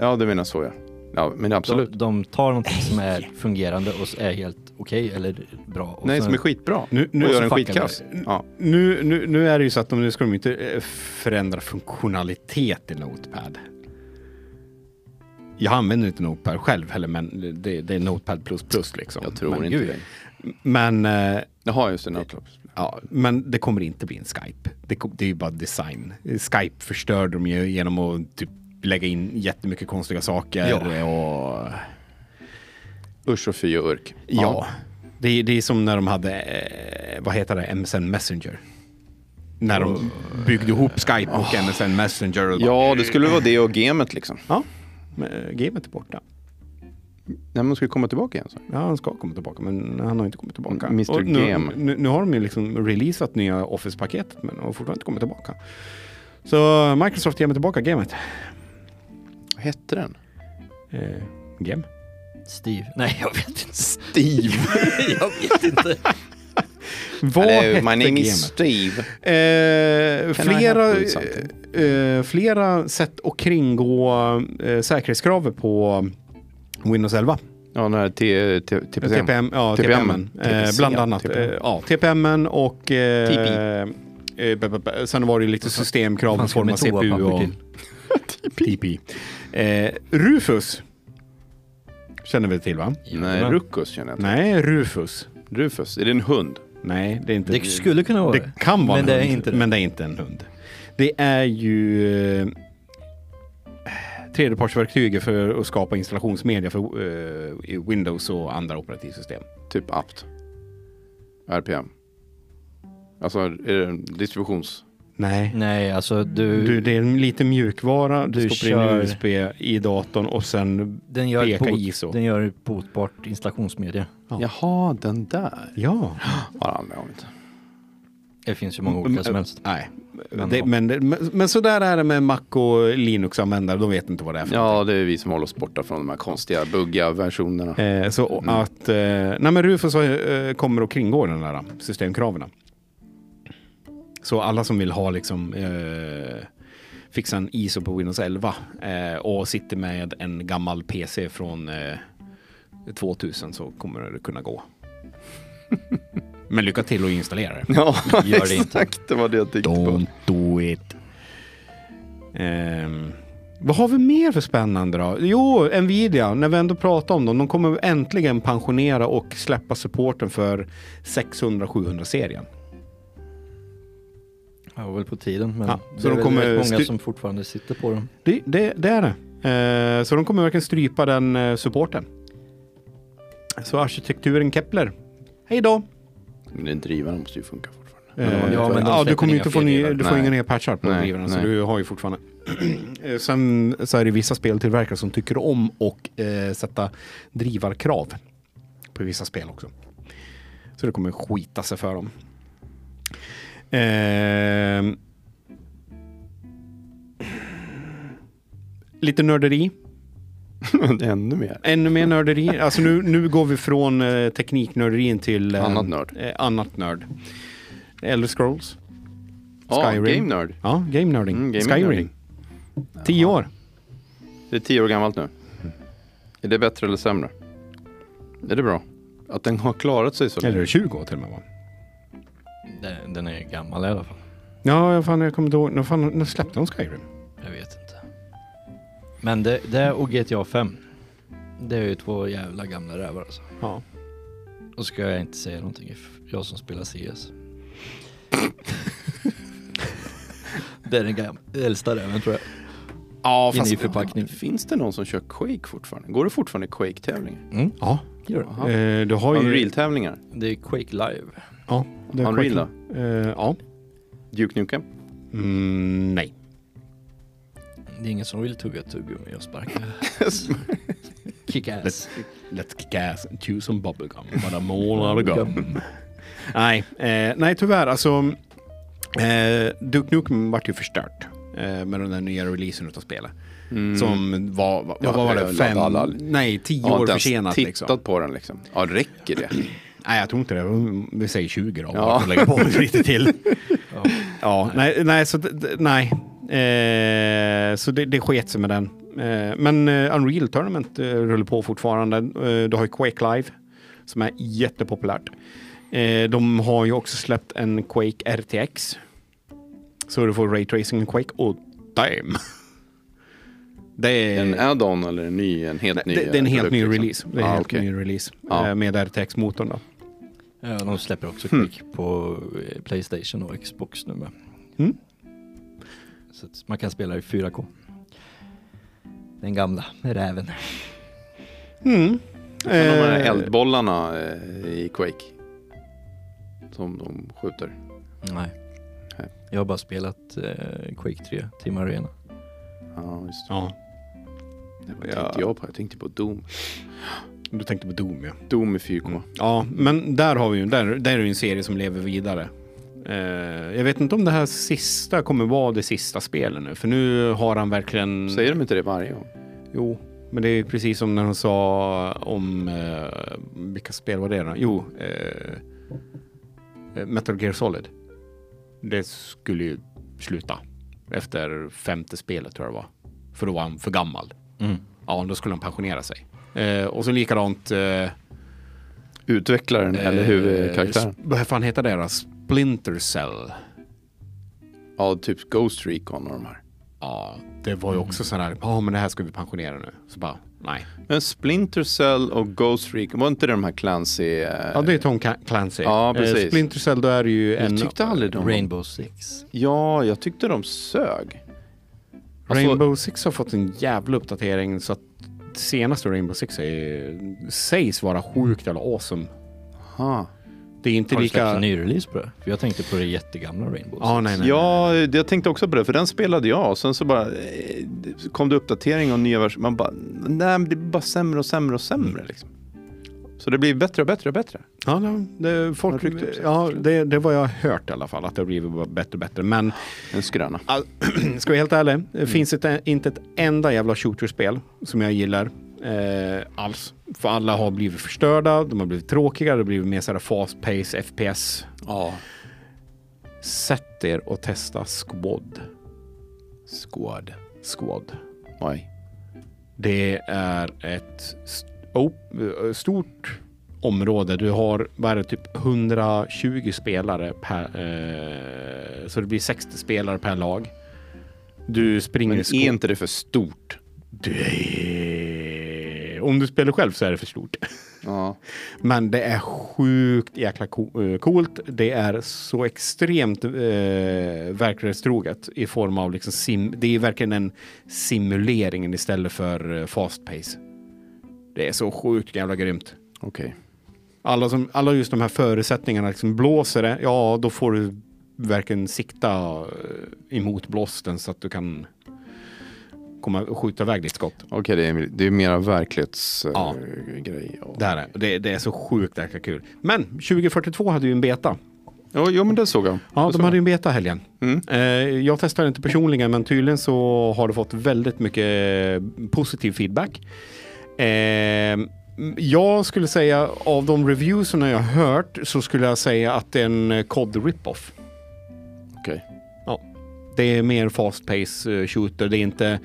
[SPEAKER 1] ja, du menar så ja. Ja, men absolut.
[SPEAKER 3] De, de tar någonting som är fungerande och så är helt okej eller bra. Och
[SPEAKER 1] Nej,
[SPEAKER 3] sen-
[SPEAKER 1] som är skitbra.
[SPEAKER 2] Nu- nu-
[SPEAKER 1] och
[SPEAKER 2] och
[SPEAKER 1] gör
[SPEAKER 3] så
[SPEAKER 1] en
[SPEAKER 3] fuckar
[SPEAKER 1] skitkass. Ja.
[SPEAKER 2] Nu, nu, nu är det ju så att de, nu ska de inte eh, förändra funktionalitet i Notepad. Jag använder inte Notepad själv heller, men det, det är Notepad plus plus liksom.
[SPEAKER 1] Jag tror
[SPEAKER 2] men,
[SPEAKER 1] inte det.
[SPEAKER 2] Men, eh,
[SPEAKER 1] Jaha, just det. Notepad.
[SPEAKER 2] ja, men det kommer inte bli en Skype. Det, kom- det är ju bara design. Skype förstörde de ju genom att typ lägga in jättemycket konstiga saker.
[SPEAKER 3] Ja.
[SPEAKER 2] Och,
[SPEAKER 1] Usch och fy och urk.
[SPEAKER 2] ja. Det, är- det är som när de hade, eh, vad heter det, MSN Messenger. När de byggde ihop Skype och MSN Messenger. Och bara,
[SPEAKER 1] Ja, det skulle vara det och gamet liksom.
[SPEAKER 2] Ja, men eh, gamet är borta.
[SPEAKER 1] Nej, man skulle komma tillbaka igen. Så.
[SPEAKER 2] Ja, han ska komma tillbaka, men han har inte kommit tillbaka.
[SPEAKER 1] Mr.
[SPEAKER 2] Och Nu,
[SPEAKER 1] Game.
[SPEAKER 2] nu, nu har de ju liksom releasat nya Office-paketet, men har fortfarande inte kommit tillbaka. Så Microsoft ger mig tillbaka gamet.
[SPEAKER 1] Vad hette den?
[SPEAKER 2] Eh, game?
[SPEAKER 3] Steve. Nej, jag vet inte.
[SPEAKER 1] Steve.
[SPEAKER 3] jag vet inte.
[SPEAKER 2] Vad
[SPEAKER 1] Hello,
[SPEAKER 2] hette
[SPEAKER 1] my name
[SPEAKER 2] gamet?
[SPEAKER 1] is Steve.
[SPEAKER 2] Eh,
[SPEAKER 1] Can I
[SPEAKER 2] flera,
[SPEAKER 1] help you with something?
[SPEAKER 2] eh, flera sätt att kringgå eh, säkerhetskravet på Windows 11.
[SPEAKER 1] Ja, den här T- T- TPCM.
[SPEAKER 2] TPM, ja,
[SPEAKER 1] TPM.
[SPEAKER 2] TPM.
[SPEAKER 1] TPC,
[SPEAKER 2] Eh, bland annat.
[SPEAKER 1] TPM.
[SPEAKER 2] Eh, ja, TPM och... Eh,
[SPEAKER 1] TP.
[SPEAKER 2] eh, b- b- b- sen var det ju lite systemkrav i
[SPEAKER 3] fan ska
[SPEAKER 2] form av
[SPEAKER 3] det med
[SPEAKER 2] CPU och...
[SPEAKER 3] toapapper
[SPEAKER 2] TP. Eh, Rufus. Känner vi till va?
[SPEAKER 1] Nej, Ruckus känner jag inte.
[SPEAKER 2] Nej, Rufus.
[SPEAKER 1] Rufus, är det en hund?
[SPEAKER 2] Nej, det är inte...
[SPEAKER 3] Det skulle kunna vara
[SPEAKER 2] Det
[SPEAKER 3] det.
[SPEAKER 2] kan vara
[SPEAKER 3] Men det
[SPEAKER 2] en
[SPEAKER 3] är
[SPEAKER 2] hund,
[SPEAKER 3] inte det.
[SPEAKER 2] men det är inte en hund. Det är ju eh, tredjepartsverktyget för att skapa installationsmedia för eh, i Windows och andra operativsystem.
[SPEAKER 1] Typ apt. RPM. Alltså, är det en distributions...
[SPEAKER 2] Nej.
[SPEAKER 3] Nej, alltså du,
[SPEAKER 2] Du, det är lite mjukvara, du
[SPEAKER 3] Du
[SPEAKER 2] stoppar
[SPEAKER 3] kör-
[SPEAKER 2] in USB i datorn och sen...
[SPEAKER 3] den, gör ett
[SPEAKER 2] peka
[SPEAKER 3] bot-
[SPEAKER 2] ISO.
[SPEAKER 3] den gör ett botbart installationsmedie.
[SPEAKER 1] Jaha, den där.
[SPEAKER 2] Ja.
[SPEAKER 1] Har aldrig använt.
[SPEAKER 3] Det finns ju många
[SPEAKER 2] Mm,
[SPEAKER 3] olika som helst.
[SPEAKER 2] Nej.
[SPEAKER 3] Men
[SPEAKER 2] Det,
[SPEAKER 3] ja.
[SPEAKER 2] men, det- men, men så där är det med Mac och Linux-användare, de vet inte vad det är för
[SPEAKER 1] Ja, det är vi som håller oss borta från de här konstiga, buggiga versionerna.
[SPEAKER 2] Eh, så att, eh, nej men Rufus eh, kommer och kringgår den där systemkraven. Så alla som vill ha liksom eh, fixa en ISO på Windows 11 eh, och sitter med en gammal PC från eh, 2000 så kommer det kunna gå. men lycka till att installera det.
[SPEAKER 1] Ja,
[SPEAKER 3] Gör det inte.
[SPEAKER 1] exakt. Det var det jag tänkte på.
[SPEAKER 2] Don't do it. Ehm, vad har vi mer för spännande då? Jo, Nvidia, när vi ändå pratar om dem, de kommer äntligen pensionera och släppa supporten för 600-700-serien.
[SPEAKER 3] Det var väl på tiden, men
[SPEAKER 2] Ja,
[SPEAKER 3] det
[SPEAKER 2] så
[SPEAKER 3] är
[SPEAKER 2] de
[SPEAKER 3] väl
[SPEAKER 2] kommer
[SPEAKER 3] rätt många
[SPEAKER 2] stry-
[SPEAKER 3] som fortfarande sitter på dem.
[SPEAKER 2] Det, det, det är det. Ehm, så de kommer verkligen strypa den eh, supporten. Så arkitekturen Kepler, hej då!
[SPEAKER 1] Men den drivaren måste ju funka fortfarande.
[SPEAKER 2] Eh,
[SPEAKER 1] Men de
[SPEAKER 2] ja,
[SPEAKER 1] har-
[SPEAKER 3] men de
[SPEAKER 2] du
[SPEAKER 3] släpper
[SPEAKER 2] kommer ju
[SPEAKER 3] inga
[SPEAKER 2] inte få
[SPEAKER 3] fler
[SPEAKER 2] ny,
[SPEAKER 3] drivare.
[SPEAKER 2] du får
[SPEAKER 1] Nej.
[SPEAKER 2] inga nya patchar på
[SPEAKER 1] Nej,
[SPEAKER 2] drivarna så
[SPEAKER 1] nej.
[SPEAKER 2] du har ju fortfarande. Eh, Sen så är det vissa speltillverkare som tycker om och eh, sätta drivarkrav på vissa spel också. Så det kommer skita sig för dem. Eh, lite nörderi.
[SPEAKER 1] Ännu mer.
[SPEAKER 2] Ännu mer nörderi. Alltså nu, nu går vi från eh, tekniknörderin till eh,
[SPEAKER 1] Annat nörd.
[SPEAKER 2] Eh, annat nörd. Elder Scrolls.
[SPEAKER 1] Ja,
[SPEAKER 2] Skyrim.
[SPEAKER 1] Game Nerd.
[SPEAKER 2] Ja, game nörding.
[SPEAKER 1] Mm, gaming
[SPEAKER 2] Skyrim.
[SPEAKER 1] nörding.
[SPEAKER 2] Tio år.
[SPEAKER 1] Det är tio år gammalt nu. Är det bättre eller sämre? Är det bra? Att den har klarat sig så
[SPEAKER 2] Eller
[SPEAKER 1] länge?
[SPEAKER 2] 20 år till och med va?
[SPEAKER 3] Den, den är gammal i alla fall.
[SPEAKER 2] Ja, jag, fan, jag kommer inte ihåg. När, fan, när släppte de Skyrim?
[SPEAKER 3] Jag vet inte. Men det, det och GTA 5. Det är ju två jävla gamla rävar alltså.
[SPEAKER 2] Ja.
[SPEAKER 3] Och ska jag inte säga någonting, f- jag som spelar CS. det är den gam- äldsta räven tror jag.
[SPEAKER 2] Ja,
[SPEAKER 3] I ny förpackning.
[SPEAKER 1] Finns det någon som kör Quake fortfarande? Går det fortfarande Quake-tävlingar?
[SPEAKER 2] Mm, Ja.
[SPEAKER 3] Gör det.
[SPEAKER 1] Aha.
[SPEAKER 2] Eh, du har ju...
[SPEAKER 1] Unreal-tävlingar?
[SPEAKER 3] Det är Quake Live.
[SPEAKER 2] Ja. det är
[SPEAKER 1] Unreal då?
[SPEAKER 2] korrekt. Eh, ja.
[SPEAKER 1] Duke Nukem?
[SPEAKER 2] Mm, nej.
[SPEAKER 3] Det är ingen som vill tugga tuggummi och sparka. Kick-ass.
[SPEAKER 2] Let's kick ass and chew some bubblegum. But I'm all out of gum. nej, eh, nej, tyvärr. Alltså, eh, Duke Nukem vart ju förstört eh, med den där nya releasen utav spelet.
[SPEAKER 1] Mm.
[SPEAKER 2] Som var, va,
[SPEAKER 1] Ja,
[SPEAKER 2] vad var
[SPEAKER 1] jag
[SPEAKER 2] det,
[SPEAKER 1] la
[SPEAKER 2] fem,
[SPEAKER 1] alla-
[SPEAKER 2] nej, tio
[SPEAKER 1] Jag har
[SPEAKER 2] år
[SPEAKER 1] inte ens
[SPEAKER 2] försenat
[SPEAKER 1] tittat
[SPEAKER 2] liksom.
[SPEAKER 1] på den liksom. Ja, räcker det?
[SPEAKER 2] Nej, jag tror inte det. Vi säger 20 då.
[SPEAKER 1] Ja.
[SPEAKER 2] Ja. lägga på lite till.
[SPEAKER 3] Ja.
[SPEAKER 2] Ja, nej, nej, så, d- d- nej. Eh, så det, det sket sig med den. Eh, men eh, Unreal Tournament eh, rullar på fortfarande. Eh, du har ju Quake Live som är jättepopulärt. Eh, de har ju också släppt en Quake RTX. Så du får raytracing i Quake. Och damn! Det är
[SPEAKER 1] En add-on eller en ny, en helt ny?
[SPEAKER 2] det, det är en helt
[SPEAKER 1] produkt,
[SPEAKER 2] ny
[SPEAKER 1] liksom?
[SPEAKER 2] release. Det är en
[SPEAKER 1] Ah,
[SPEAKER 2] helt
[SPEAKER 1] okej.
[SPEAKER 2] ny release
[SPEAKER 1] Ja.
[SPEAKER 2] eh, med RTX-motorn då.
[SPEAKER 3] Ja, Eh, de släpper också
[SPEAKER 2] Hmm.
[SPEAKER 3] Quake på eh, Playstation och Xbox nu med.
[SPEAKER 2] Mm.
[SPEAKER 3] Så att man kan spela i 4K. Den gamla räven.
[SPEAKER 2] Mm.
[SPEAKER 1] Sen har man de här
[SPEAKER 2] Eh,
[SPEAKER 1] eldbollarna eh, i Quake. Som de skjuter.
[SPEAKER 3] Nej.
[SPEAKER 1] Nej.
[SPEAKER 3] Jag har bara spelat eh, Quake 3, Team Arena.
[SPEAKER 1] Ja, just det.
[SPEAKER 2] Ja,
[SPEAKER 1] Det var-
[SPEAKER 2] Ja.
[SPEAKER 1] tänkte jag på. Jag tänkte på Doom.
[SPEAKER 2] du tänkte på Doom ja.
[SPEAKER 1] Doom i 4K.
[SPEAKER 2] Ja, men där har vi ju, där, där är ju en serie som lever vidare. Eh, jag vet inte om det här sista kommer vara det sista spelet nu, för nu har han verkligen...
[SPEAKER 1] Säger de inte det varje gång?
[SPEAKER 2] Jo, men det är ju precis som när de sa om, eh, vilka spel var det då? Jo, eh, Metal Gear Solid. Det skulle ju sluta efter femte spelet tror jag det var. För då var han för gammal. Ja, då skulle han pensionera sig. Eh, och så likadant... Eh,
[SPEAKER 1] Utvecklaren eller
[SPEAKER 2] eh,
[SPEAKER 1] huvudkaraktären?
[SPEAKER 2] sp- Vad fan heter det då? Splinter Cell.
[SPEAKER 1] Ja, typ Ghost Recon och de här.
[SPEAKER 2] Ja, det var ju också sån här, ja men det här ska vi pensionera nu. Så bara, nej.
[SPEAKER 1] Men Splinter Cell och Ghost Recon, var inte det de här Clancy? Eh...
[SPEAKER 2] Ja, det är Tom Ca- Clancy.
[SPEAKER 1] Ja,
[SPEAKER 2] Eh,
[SPEAKER 1] precis.
[SPEAKER 2] Splinter Cell, då är det ju en...
[SPEAKER 1] Jag tyckte aldrig de...
[SPEAKER 3] Rainbow Six.
[SPEAKER 1] Ja, jag tyckte de sög. Alltså-
[SPEAKER 2] Rainbow Six har fått en jävla uppdatering så att senaste Rainbow Six är, sägs vara sjukt eller awesome.
[SPEAKER 1] Ha.
[SPEAKER 2] Det är inte
[SPEAKER 3] Har det
[SPEAKER 2] lika...
[SPEAKER 3] släppts en ny release på det? För jag tänkte på det jättegamla Rainbow.
[SPEAKER 2] Ja, nej, nej.
[SPEAKER 1] Ja, jag tänkte också på det, för den spelade jag och sen så bara eh, kom det uppdatering och nya versioner. Man bara, nej men det blir bara sämre och sämre och sämre liksom. Så det blir bättre och bättre och bättre.
[SPEAKER 2] Ja, nej, det, folk,
[SPEAKER 1] Har det ryckt upp sig?
[SPEAKER 2] ja det, det var jag hört i alla fall, att det har blivit bara bättre och bättre. Men
[SPEAKER 1] En skröna.
[SPEAKER 2] ska jag vara helt ärlig, det finns ett, inte ett enda jävla shooterspel som jag gillar eh, alls. För alla har blivit förstörda, de har blivit tråkiga, det har blivit mer sådär fast pace, FPS.
[SPEAKER 1] Ja.
[SPEAKER 2] Sätt er och testa Squad.
[SPEAKER 1] Squad.
[SPEAKER 2] Squad.
[SPEAKER 1] Why?
[SPEAKER 2] Det är ett st- op- eh, stort område. Du har, vad är det, typ 120 spelare per... Eh, så det blir 60 spelare per lag. Du springer
[SPEAKER 1] Men
[SPEAKER 2] i
[SPEAKER 1] är
[SPEAKER 2] skog.
[SPEAKER 1] inte det för stort?
[SPEAKER 2] Det- Om du spelar själv så är det för stort.
[SPEAKER 1] Ja.
[SPEAKER 2] Men det är sjukt jäkla co- eh, coolt. Det är så extremt eh, verklighetstroget i form av liksom sim. Det är verkligen en simulering istället för eh, fast pace. Det är så sjukt jävla grymt.
[SPEAKER 1] Okej.
[SPEAKER 2] Alla, som, alla just de här förutsättningarna, liksom blåser det, ja då får du verkligen sikta eh, emot blåsten så att du kan komma och skjuta iväg ditt skott.
[SPEAKER 1] Okej, det är, det är mera verklighetsgrej.
[SPEAKER 2] Ja.
[SPEAKER 1] grej. och-
[SPEAKER 2] Det, här är, det, det är så sjukt jäkla kul. Men 2042 hade ju en beta.
[SPEAKER 1] Jo, jo, men det såg jag.
[SPEAKER 2] Ja,
[SPEAKER 1] det
[SPEAKER 2] de
[SPEAKER 1] såg
[SPEAKER 2] hade
[SPEAKER 1] jag.
[SPEAKER 2] ju en beta i helgen.
[SPEAKER 1] Mm.
[SPEAKER 2] Eh, jag testade inte personligen, men tydligen så har det fått väldigt mycket eh, positiv feedback. Eh, jag skulle säga, av de reviewserna jag har hört, så skulle jag säga att det är en eh, COD rip-off.
[SPEAKER 1] Okej.
[SPEAKER 2] Ja. Det är mer fast pace eh, shooter, det är inte...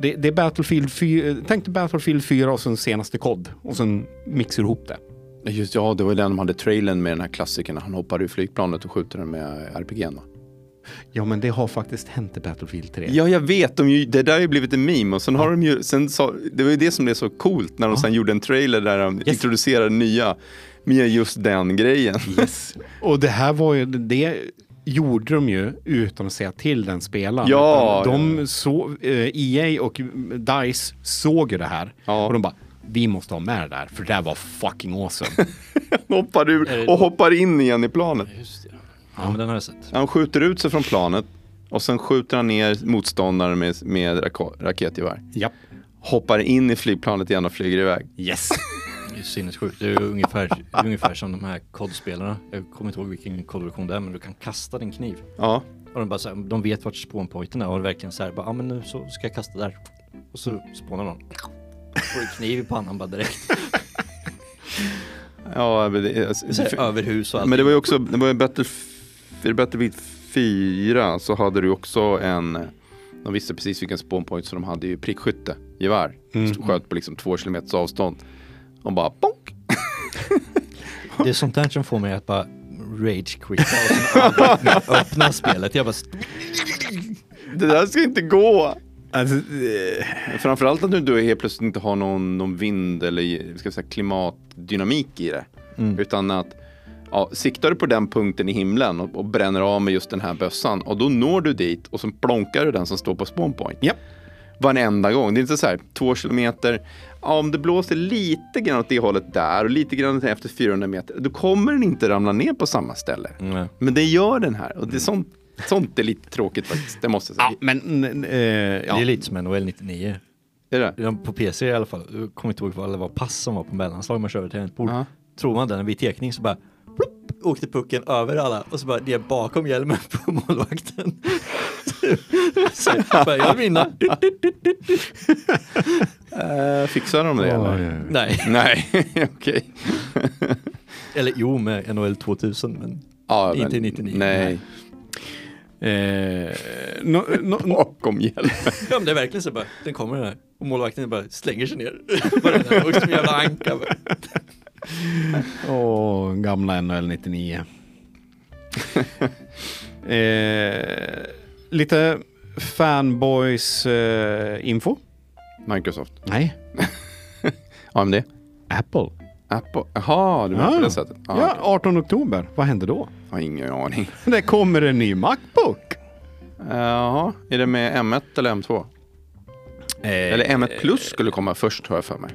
[SPEAKER 2] Det, det är Battlefield 4, eh, tänk dig Battlefield 4 och sen senaste COD. Och sen mixar du ihop det.
[SPEAKER 1] Just ja, det var ju den de hade trailern med den här klassikern. Han hoppar ur flygplanet och skjuter den med RPG'n va?
[SPEAKER 2] Ja, men det har faktiskt hänt i Battlefield 3.
[SPEAKER 1] Ja, jag vet. De ju, det där har ju blivit en meme. Och sen har de ju, sen sa, det var ju det som blev så coolt när de sen gjorde en trailer där de introducerade nya med just den grejen.
[SPEAKER 2] Och det här var ju, det gjorde de ju utan att säga till den spelaren.
[SPEAKER 1] Ja,
[SPEAKER 2] Utan de Så, eh, EA och DICE såg ju det här
[SPEAKER 1] Ja.
[SPEAKER 2] och de bara, vi måste ha med det där, för det där var fucking awesome.
[SPEAKER 1] hoppar ur och hoppar in igen i planet.
[SPEAKER 3] Just det. Ja, men den har jag sett.
[SPEAKER 1] Han skjuter ut sig från planet och sen skjuter han ner motståndaren med, med rako- raketgevär.
[SPEAKER 2] Japp.
[SPEAKER 1] Hoppar in i flygplanet igen och flyger iväg.
[SPEAKER 2] Yes.
[SPEAKER 3] Det är ju sinnessjukt. Det är ju ungefär, det är ungefär som de här kodspelarna. Jag kommer inte ihåg vilken kodversion det är, men du kan kasta din kniv.
[SPEAKER 1] Ja,
[SPEAKER 3] Och de, bara så här, de vet vart spawnpointen är och verkligen så här, bara, ah, men nu så ska jag kasta där. Och så spånar någon. Får en kniv i pannan bara direkt.
[SPEAKER 1] ja men det,
[SPEAKER 3] Så här, över hus och allt.
[SPEAKER 1] Men det var ju också, det var ju bättre, i Battlefield 4 så hade du ju också en, de visste precis vilken spawnpoint så de hade ju prickskytte, gevär. Sköt på liksom två kilometers avstånd. Och bara bonk.
[SPEAKER 3] Det är sånt där som får mig att bara rage quitta och sen aldrig mer öppna spelet. Jag bara,
[SPEAKER 1] Det där ska inte gå.
[SPEAKER 2] alltså,
[SPEAKER 1] Framförallt att du då helt plötsligt inte har någon, någon vind eller ska vi säga, klimatdynamik i det. Utan att ja, siktar du på den punkten i himlen och, och bränner av med just den här bössan och då når du dit och så plonkar du den som står på spawnpoint.
[SPEAKER 2] japp.
[SPEAKER 1] Varenda gång. Det är inte så här två kilometer. Ja, om det blåser lite grann åt det hållet där och lite grann efter 400 meter. Då kommer den inte ramla ner på samma ställe.
[SPEAKER 3] Nej.
[SPEAKER 1] Men det gör den här. Och det är sånt, sånt är lite tråkigt faktiskt. Det måste jag säga.
[SPEAKER 2] Ja, men eh,
[SPEAKER 3] Det är
[SPEAKER 2] ja.
[SPEAKER 3] lite som NHL 99.
[SPEAKER 1] Är det?
[SPEAKER 3] Ja, På PC i alla fall. Jag kommer inte ihåg vad det var pass som var på mellanslag man körde till ett bord.
[SPEAKER 1] Ja.
[SPEAKER 3] Tror man den vid tekning så bara plopp, åkte pucken över alla och så bara ner bakom hjälmen på målvakten. så bara, jag vill vinna.
[SPEAKER 1] Eh, fixar de det eller?
[SPEAKER 3] Nej,
[SPEAKER 1] Nej, okej.
[SPEAKER 3] eller jo med NHL 2000 men
[SPEAKER 1] Ja,
[SPEAKER 3] Inte 99.
[SPEAKER 1] Nej,
[SPEAKER 2] Eh, no, no, no,
[SPEAKER 1] bakom hjälp.
[SPEAKER 3] ja, men det är verkligen så bara, den kommer den här och målvakten bara slänger sig ner. bara den här, och som en jävla anka. bara.
[SPEAKER 2] Åh, gamla NHL 99. eh, lite fanboys eh, info.
[SPEAKER 1] Microsoft.
[SPEAKER 2] Nej,
[SPEAKER 1] AMD.
[SPEAKER 2] Apple.
[SPEAKER 1] Apple. Jaha, du menar på det sättet? Ja,
[SPEAKER 2] Ah. ja,
[SPEAKER 1] okej.
[SPEAKER 2] 18 oktober. Vad hände då?
[SPEAKER 1] Jag har ingen aning.
[SPEAKER 2] Det kommer en ny Macbook.
[SPEAKER 1] Jaha, är det med M1 eller M2? Eller M1 plus skulle komma först har jag för mig.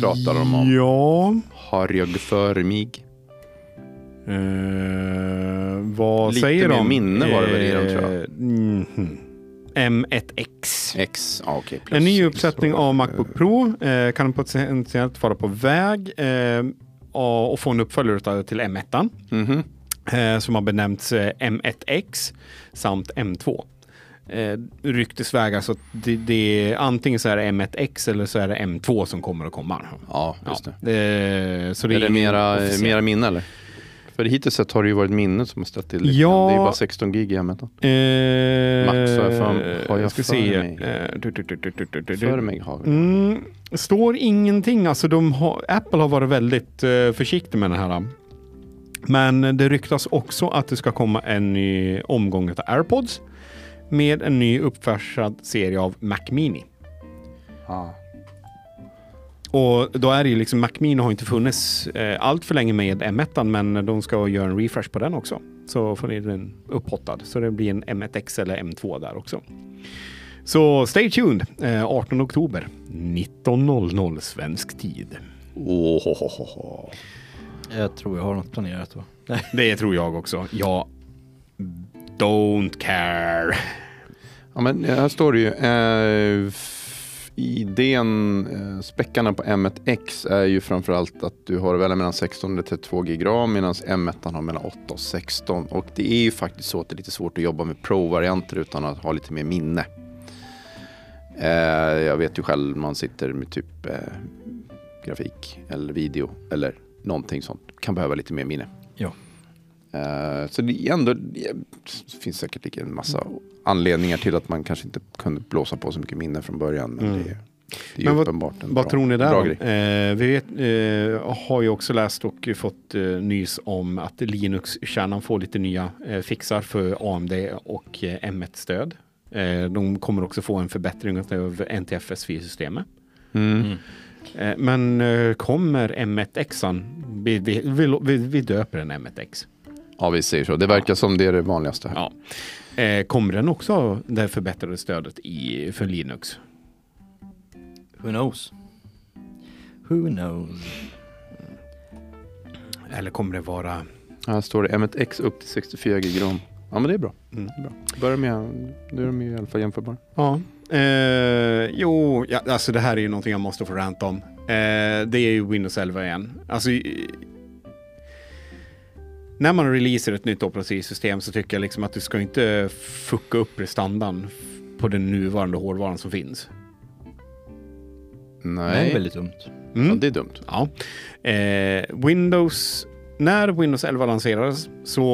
[SPEAKER 1] Pratar de om.
[SPEAKER 2] Ja,
[SPEAKER 1] Har jag för mig?
[SPEAKER 2] Eh, vad
[SPEAKER 1] Lite
[SPEAKER 2] säger
[SPEAKER 1] mer
[SPEAKER 2] de?
[SPEAKER 1] minne var det väl i dem, tror jag.
[SPEAKER 2] Eh, mhm. M1X.
[SPEAKER 1] X, ja okej. plus
[SPEAKER 2] En ny
[SPEAKER 1] X
[SPEAKER 2] uppsättning
[SPEAKER 1] då.
[SPEAKER 2] av Macbook Pro eh, kan potentiellt vara på väg eh, och och få en uppföljare utav- till M1
[SPEAKER 1] Mhm.
[SPEAKER 2] eh, som har benämnts eh, M1X samt M2. Eh, ryktesväg alltså, att det, det är antingen så är det M1X eller så är det M2 som kommer att komma.
[SPEAKER 1] Ja, just det.
[SPEAKER 2] Eh, så det
[SPEAKER 1] Är det
[SPEAKER 2] ingen
[SPEAKER 1] mera,
[SPEAKER 2] officiell-
[SPEAKER 1] mera minne eller? För hittills sett har det ju varit minne som har ställt till det.
[SPEAKER 2] Ja.
[SPEAKER 1] Det är ju bara 16 gig i m
[SPEAKER 2] Eh,
[SPEAKER 1] Max, har jag för- har jag för
[SPEAKER 2] ska se.
[SPEAKER 1] mig?
[SPEAKER 2] Eh, du- du- du- du- du- du- du-
[SPEAKER 1] För mig har vi.
[SPEAKER 2] Mm, står ingenting. Alltså de har, Apple har varit väldigt eh, försiktig med den här. Men det ryktas också att det ska komma en ny omgång av AirPods med en ny uppfärsad serie av Mac Mini.
[SPEAKER 1] Ah.
[SPEAKER 2] Och då är det ju liksom, Mac Mini har inte funnits eh, allt för länge med M1, men de ska göra en refresh på den också. Så får ni den upphottad. Så det blir en M1X eller M2 där också. Så stay tuned, eh, 18 oktober 19.00 svensk tid.
[SPEAKER 1] Ohohoho.
[SPEAKER 3] Jag tror jag har något planerat då.
[SPEAKER 2] Det tror jag också. Jag don't care.
[SPEAKER 1] Ja, men här står det ju. Eh, f- idén, eh, späckarna på M1X är ju framförallt att du har väl mellan 16 och 32 gig ram medan M1 har mellan 8 och 16. Och det är ju faktiskt så att det är lite svårt att jobba med Pro-varianter utan att ha lite mer minne. Eh, jag vet ju själv man sitter med typ eh, grafik eller video eller någonting sånt. Kan behöva lite mer minne.
[SPEAKER 3] Ja.
[SPEAKER 1] Eh, så det är ändå, det finns säkert lika en massa anledningar till att man kanske inte kunde blåsa på så mycket minne från början. Men
[SPEAKER 2] Mm.
[SPEAKER 1] det, är- det är
[SPEAKER 2] Men
[SPEAKER 1] ju
[SPEAKER 2] vad-
[SPEAKER 1] uppenbart en
[SPEAKER 2] Vad
[SPEAKER 1] bra,
[SPEAKER 2] tror ni där
[SPEAKER 1] bra
[SPEAKER 2] om?
[SPEAKER 1] grej.
[SPEAKER 2] eh, Vi vet, eh, har ju också läst och fått eh, nys om att Linux-kärnan får lite nya eh, fixar för AMD och eh, M1-stöd. Eh, de kommer också få en förbättring av NTFS4-systemet.
[SPEAKER 1] Mm.
[SPEAKER 2] Eh, men eh, kommer M1X? Vi, vi, vi, vi, vi döper den M1X.
[SPEAKER 1] Ja, vi säger så. Det verkar som det är det vanligaste här.
[SPEAKER 2] Ja. Eh, kommer den också ha det förbättrade stödet i, för Linux?
[SPEAKER 3] Who knows? Who knows?
[SPEAKER 2] Eller kommer det vara...
[SPEAKER 1] Här står det M1X upp till 64 gig ram. Ja, men det är bra.
[SPEAKER 2] Mm.
[SPEAKER 1] Det är bra. Börjar med, nu är de ju i alla fall jämförbara.
[SPEAKER 2] Ja. Eh, jo, ja, alltså det här är ju någonting jag måste få rant om. Eh, det är ju Windows 11 igen. Alltså, i- när man releaser ett nytt operativsystem så tycker jag liksom att du ska inte fucka upp prestandan f- på den nuvarande hårdvaran som finns.
[SPEAKER 3] Det
[SPEAKER 1] Nej,
[SPEAKER 3] är väldigt dumt.
[SPEAKER 2] Mm.
[SPEAKER 1] ja, det är dumt.
[SPEAKER 2] Ja. Eh, Windows, när Windows 11 lanserades så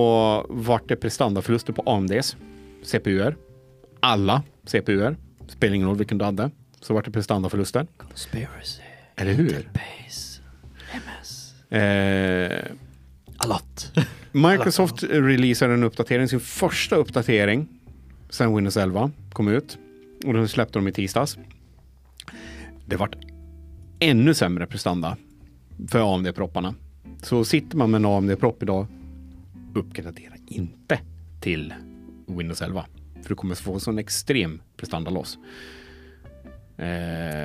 [SPEAKER 2] vart det prestandaförluster på AMDs CPUer. Alla CPUer, spelar ingen roll vilken du hade, så vart det prestandaförluster.
[SPEAKER 3] Conspiracy.
[SPEAKER 2] Eller hur?
[SPEAKER 3] Base. MS.
[SPEAKER 2] Eh,
[SPEAKER 3] A lot.
[SPEAKER 2] Microsoft releasade en uppdatering, sin första uppdatering sedan Windows 11 kom ut. Och den släppte de i tisdags. Det vart ännu sämre prestanda för AMD-propparna. Så sitter man med en AMD-propp idag, uppgradera inte till Windows 11. För du kommer få sån extrem prestandaloss. Eh,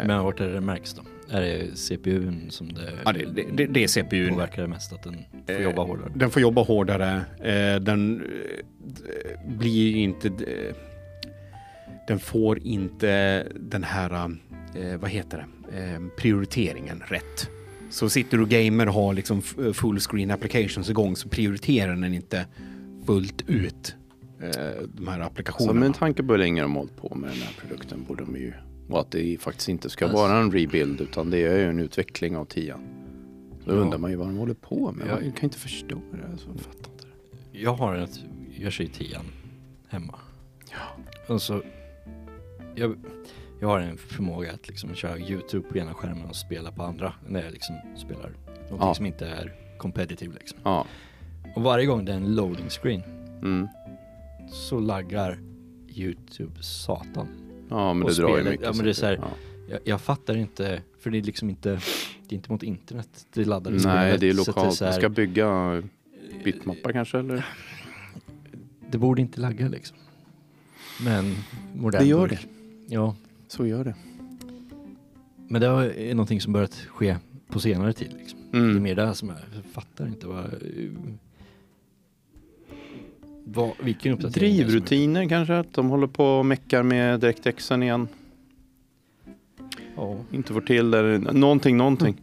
[SPEAKER 3] Men vart är det märks då? Är det CPUn som det,
[SPEAKER 2] ja, det, det, det- Eh, det är CPUn.
[SPEAKER 3] påverkar det mest? Att den får jobba hårdare?
[SPEAKER 2] Den får jobba hårdare. Eh, den eh, blir ju inte... eh, den får inte den här, eh, vad heter det, eh, prioriteringen rätt. Så sitter du och gamer och har liksom f- full screen applications igång så prioriterar den inte fullt ut eh, de här
[SPEAKER 1] Så med
[SPEAKER 2] applikationerna.
[SPEAKER 1] tanke på hur länge de har hållit på med den här produkten borde de ju... Och att det faktiskt inte ska
[SPEAKER 3] Alltså.
[SPEAKER 1] vara en rebuild utan det är ju en utveckling av tian. Då
[SPEAKER 3] Ja.
[SPEAKER 1] undrar man ju vad de håller på med.
[SPEAKER 3] Ja.
[SPEAKER 1] Jag kan inte förstå det. Alltså, jag fattar inte det.
[SPEAKER 3] Jag har ett, jag kör ju tian hemma. Ja. Och så, jag, jag har en förmåga att liksom köra YouTube på ena skärmen och spela på andra när jag liksom spelar någonting
[SPEAKER 1] Ja.
[SPEAKER 3] som inte är competitive liksom.
[SPEAKER 1] Ja.
[SPEAKER 3] Och varje gång det är en loading screen
[SPEAKER 1] Mm.
[SPEAKER 3] så laggar YouTube satan.
[SPEAKER 1] ja, men
[SPEAKER 3] Och
[SPEAKER 1] det drar ju
[SPEAKER 3] spelet-
[SPEAKER 1] mycket.
[SPEAKER 3] ja, men det är så här-
[SPEAKER 1] säkert.
[SPEAKER 3] Jag, jag fattar inte, för det är liksom inte, det är inte mot internet det laddar i
[SPEAKER 1] Ja. Nej,
[SPEAKER 3] spelet,
[SPEAKER 1] det är
[SPEAKER 3] så att
[SPEAKER 1] lokalt.
[SPEAKER 3] så här-
[SPEAKER 1] Man ska bygga bitmappar kanske eller?
[SPEAKER 3] det borde inte lagga liksom. Men modern
[SPEAKER 1] Det gör
[SPEAKER 3] burk. Ja,
[SPEAKER 1] Så gör det.
[SPEAKER 3] men det är någonting som börjat ske på senare tid liksom. Det är
[SPEAKER 1] Mm.
[SPEAKER 3] mer det här som är, jag fattar inte vad... eh, Vad, vilken uppdatering? är det som är-
[SPEAKER 1] Drivrutiner kanske? Att de håller på och meckar med DirectXen igen.
[SPEAKER 3] Ja.
[SPEAKER 1] Inte får till det. Någonting, någonting.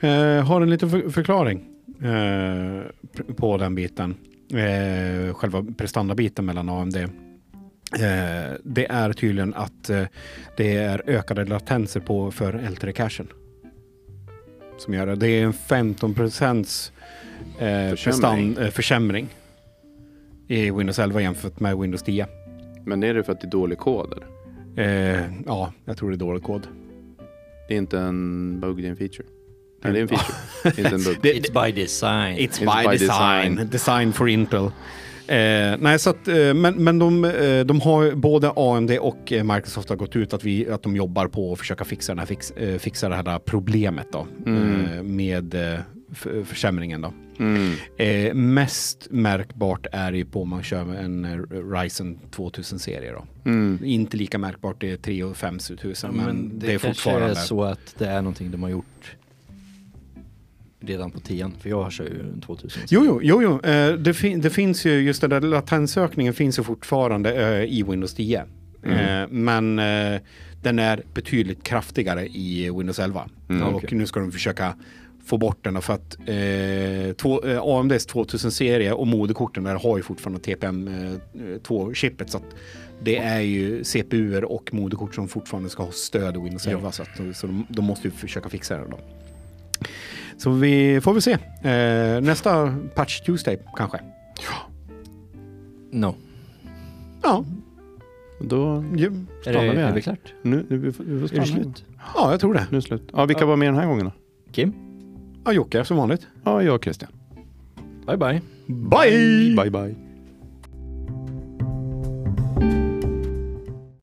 [SPEAKER 3] Mm.
[SPEAKER 2] Eh, har en liten för- förklaring eh, pr- på den biten. Eh, själva prestandabiten mellan AMD. Eh, det är tydligen att eh, det är ökade latenser på för L3-cachen. Som gör det. Det är en 15 procents eh,
[SPEAKER 1] Försämring.
[SPEAKER 2] försämring. Eh, försämring i Windows 11 jämfört med Windows 10.
[SPEAKER 1] Men är det för att det är dålig kod? Eller?
[SPEAKER 2] Eh, ja, jag tror det är dålig kod.
[SPEAKER 1] Det är inte en bug, det är en feature. Nej, det är en feature. Det är inte en bug.
[SPEAKER 2] Det-
[SPEAKER 3] It's by design.
[SPEAKER 2] It's,
[SPEAKER 1] It's
[SPEAKER 2] by,
[SPEAKER 1] by
[SPEAKER 2] design.
[SPEAKER 1] design.
[SPEAKER 2] design. for Intel. Eh, nej, så att, eh, men, men de, eh, de har ju- både AMD och eh, Microsoft har gått ut att, vi, att de jobbar på att försöka fixa, den här, fix, eh, fixa det här problemet då,
[SPEAKER 1] Mm.
[SPEAKER 2] eh, med eh, f- försämringen. Då.
[SPEAKER 1] Mm.
[SPEAKER 2] Eh, mest märkbart är det ju på om man kör en eh, Ryzen 2000-serie. Då.
[SPEAKER 1] Mm.
[SPEAKER 2] Inte lika märkbart, det är 3 och 5 tusen,
[SPEAKER 3] Ja,
[SPEAKER 2] men, det, är
[SPEAKER 3] kanske
[SPEAKER 2] fortfarande...
[SPEAKER 3] är så att det är någonting de har gjort redan på tian. För jag kör ju en 2000.
[SPEAKER 2] Jo, jo, jo, jo. Eh, det, fin- det finns ju, just den där latensökningen finns ju fortfarande eh, i Windows 10. Eh, men eh, den är betydligt kraftigare i Windows 11. och
[SPEAKER 3] okej.
[SPEAKER 2] nu ska de försöka få bort den då, för att eh, två, eh, AMDs 2000-serie och moderkorten där har ju fortfarande TPM2-chippet. eh, så att det är ju CPUer och moderkort som fortfarande ska ha stöd i Windows 11. Så, att, så de, de måste ju försöka fixa det då. Så vi får väl se. Eh, nästa Patch Tuesday kanske.
[SPEAKER 3] No.
[SPEAKER 2] Ja,
[SPEAKER 1] Då
[SPEAKER 2] ju,
[SPEAKER 3] Är det,
[SPEAKER 1] Stannar vi
[SPEAKER 3] är
[SPEAKER 1] här?
[SPEAKER 3] det klart?
[SPEAKER 1] nu, nu, vi får, vi får
[SPEAKER 3] Är
[SPEAKER 1] stanna.
[SPEAKER 3] det slut?
[SPEAKER 2] ja jag tror det.
[SPEAKER 1] Nu är det slut. Ja, vilka var med den här gången då?
[SPEAKER 3] Kim?
[SPEAKER 2] Ja, Jocke som vanligt.
[SPEAKER 1] Ja, jag och Christian.
[SPEAKER 3] Bye bye.
[SPEAKER 2] Bye!
[SPEAKER 1] Mm. Bye bye.